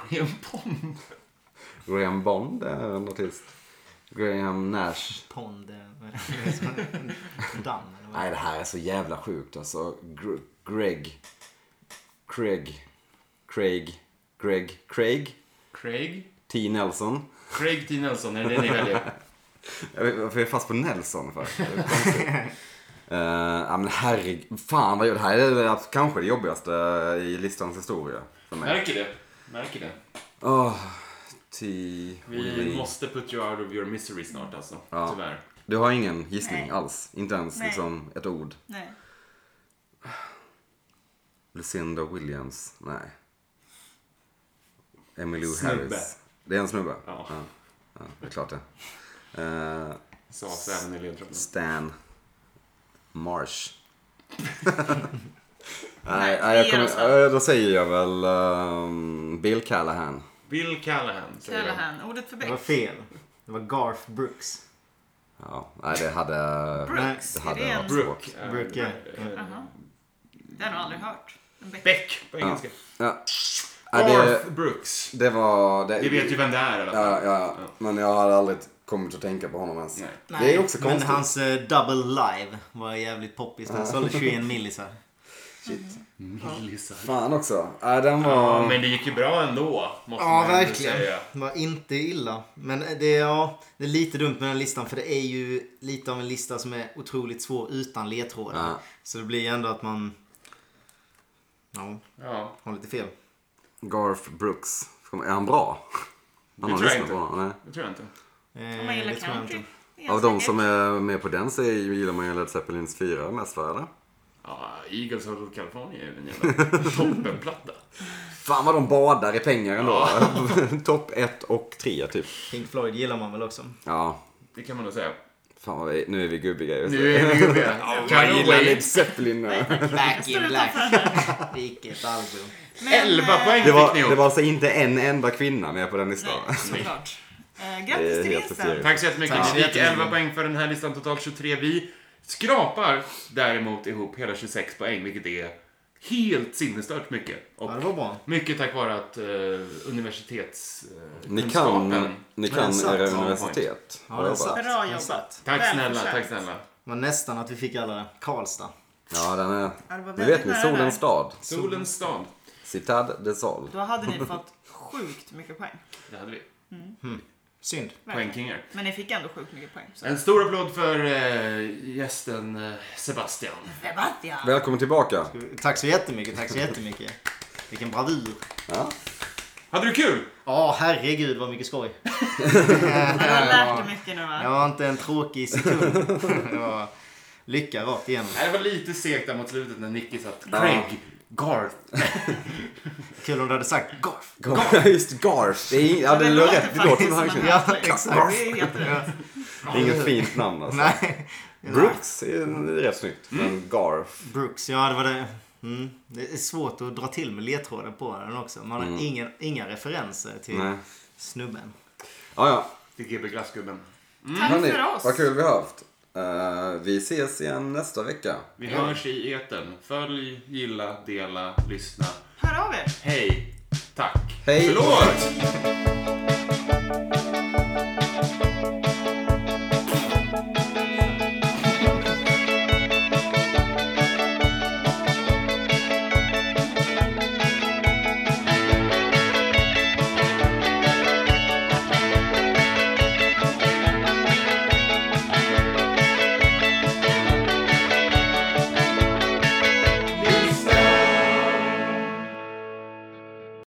S2: Graham Pond.
S1: Graham Bond är en artist. Graham Nash.
S3: Pond. eh, Damm eller vad?
S1: Nej det här är så jävla sjukt alltså. Gr- Greg. Craig. Craig. Greg. Craig.
S2: Craig?
S1: T. Nelson.
S2: Craig T. Nelson, är det det ni väljer?
S1: Jag vet varför jag är fast på Nelson för. Det är konstigt. Eh, ja men herregud. Fan vad jag- det här är det, abs- kanske det jobbigaste i listans historia. För mig.
S2: Märker det. Märker det.
S1: Åh, T.
S2: Vi
S1: Willie.
S2: måste put you out of your misery snart alltså.
S1: Ja.
S2: Tyvärr.
S1: Du har ingen gissning
S4: Nej.
S1: alls? Inte ens
S4: Nej.
S1: liksom ett ord?
S4: Nej.
S1: Lucinda Williams? Nej. Emmylou
S2: Snubbe.
S1: Harris? Det är en snubbe?
S2: Ja.
S1: ja. Ja, det är klart det. Eh,
S2: Sades även i ledtråden.
S1: Stan Marsh.
S4: Nej,
S1: nej, nej, jag
S4: vi ger oss
S1: kommer,
S4: här.
S1: eh, då säger jag väl ehm, Bill Callahan.
S2: Bill Callahan. säger jag.
S4: Callahan. Ordet för
S3: Det var
S4: Beck.
S3: fel. Det var Garth Brooks.
S1: Ja, nej, det hade...
S4: Brooks.
S1: Det
S4: Är
S1: hade
S4: det en...
S1: varit-
S2: Brooke. eh,
S3: Brooke, ja.
S2: eh,
S4: Jaha. Det har jag nog aldrig hört. En Beck.
S2: Beck på engelska.
S1: Ja. Nej, det,
S2: Garth Brooks.
S1: det var... Det,
S2: Vi vet ju vem det är i alla fall.
S1: Ja, ja, men jag hade aldrig kommit att tänka på honom ens.
S2: Nej.
S1: Det är också konstigt.
S3: Men hans eh, Double Live var jävligt poppis. Den sålde 21 millisar.
S1: Shit.
S2: Millisar.
S1: Fan också. Nej, den var...
S2: Ja, men det gick ju bra ändå. Måste
S3: Ja,
S2: man ändå
S3: verkligen.
S2: Säga.
S3: Var inte illa. Men det är, ja, det är lite dumt med den här listan för det är ju lite av en lista som är otroligt svår utan ledtrådar.
S1: Ja.
S3: Så det blir ju ändå att man ja,
S2: Ja.
S3: har lite fel.
S1: Garth Brooks. Är han bra? Han
S2: Det
S1: har
S2: tror jag
S1: lyssnat
S2: inte.
S1: på honom, nej.
S2: Det tror jag inte.
S3: Eh,
S4: Om man gillar
S3: det tror jag
S4: country.
S3: inte.
S4: Det är
S1: Av de
S4: säkert.
S1: som är med på den så är- gillar man ju Led Zeppelins 4 mest, va? eller?
S2: Ja, Eagles of California är ju en jävla toppenplatta.
S1: Fan vad de badar i pengar ändå. Topp 1 och 3 typ.
S3: Pink Floyd gillar man väl också.
S1: Ja.
S2: Det kan man nog säga.
S1: Fan vad vi, nu är vi gubbiga just
S2: Nu är vi gubbiga.
S1: Jag
S2: Carol
S1: gillar
S2: Wade.
S1: Led Zeppelin nu.
S3: Back
S4: Står
S3: in
S4: det
S3: black.
S4: utanför den här?
S3: Vilket album.
S4: Men,
S2: 11
S4: eh,
S2: poäng
S1: Det var,
S2: fick ni
S1: det
S2: ihop.
S1: var alltså inte en enda kvinna med på den listan.
S4: Nej, såklart. Eh,
S1: Det är
S4: grattis till
S1: helt
S4: vinsten.
S1: hysteriskt.
S2: Tack så jättemycket.
S3: Tack så
S2: Ni fick
S3: jättemycket.
S2: 11 poäng för den här listan, totalt 23. Vi skrapar däremot ihop hela 26 poäng, vilket är helt sinnesstört mycket. Och
S3: Ja, det var bra.
S2: mycket tack vare att eh, universitetskunskapen... Eh,
S1: Ni kan,
S2: kunskapen-
S1: ni
S3: Ja, det
S1: kan
S3: är sant.
S1: era
S2: Ja,
S1: universitet.
S3: Ja, det är sant.
S4: Bra
S3: Det är
S4: jobbat.
S3: sant.
S2: Tack snälla,
S4: Välförtjänt.
S2: tack snälla.
S3: Det var nästan att vi fick alla Karlstad.
S1: Ja, den är...
S4: Ja, det var
S1: Nu
S4: väldigt
S1: vet ni,
S4: nära där.
S1: Solens stad.
S2: Solens stad.
S1: Citad de Sol.
S4: Då hade ni fått sjukt mycket poäng.
S2: Det hade vi.
S3: Synd.
S4: Verkligen.
S2: Poängkingar.
S4: Men ni fick ändå sjukt mycket poäng. Så.
S2: En stor applåd för eh, gästen eh, Sebastian.
S4: Sebastian!
S1: Välkommen tillbaka.
S3: Tack så jättemycket, tack så jättemycket. Vilken bravur.
S1: Ja.
S2: Hade du kul?
S3: Ja, herregud vad mycket skoj.
S4: Ja, Du har lärt dig mycket nu va?
S3: Jag var inte en tråkig sekund. Det var lycka rakt igenom.
S2: Nej, Det var lite segt där mot slutet när Nicky satt Craig. Garth.
S3: Kul om du hade sagt Garf.
S1: Garf. Just Garf. Det är, ja, det, låter rätt. Det låter som han
S4: en
S1: känner.
S3: Ja,
S4: atlet.
S3: exakt.
S4: Det är helt rätt.
S1: Det är inget fint namn alltså.
S3: Nej.
S1: Brooks är rätt snyggt. Men Garf.
S3: Brooks, ja det var det. Mm. Det är svårt att dra till med ledtrådar på den också. Man har ingen, inga referenser till
S1: Mm. Nej.
S3: snubben.
S1: Ja, ja.
S2: Det är GB Glassgubben.
S4: Tack
S1: Hörni,
S4: för oss.
S1: vad kul vi har haft. Eh, vi ses igen nästa vecka.
S2: Vi hörs i etern. Följ, gilla, dela, lyssna.
S4: Hör av er.
S2: Hej. Tack.
S1: Hej.
S2: Förlåt!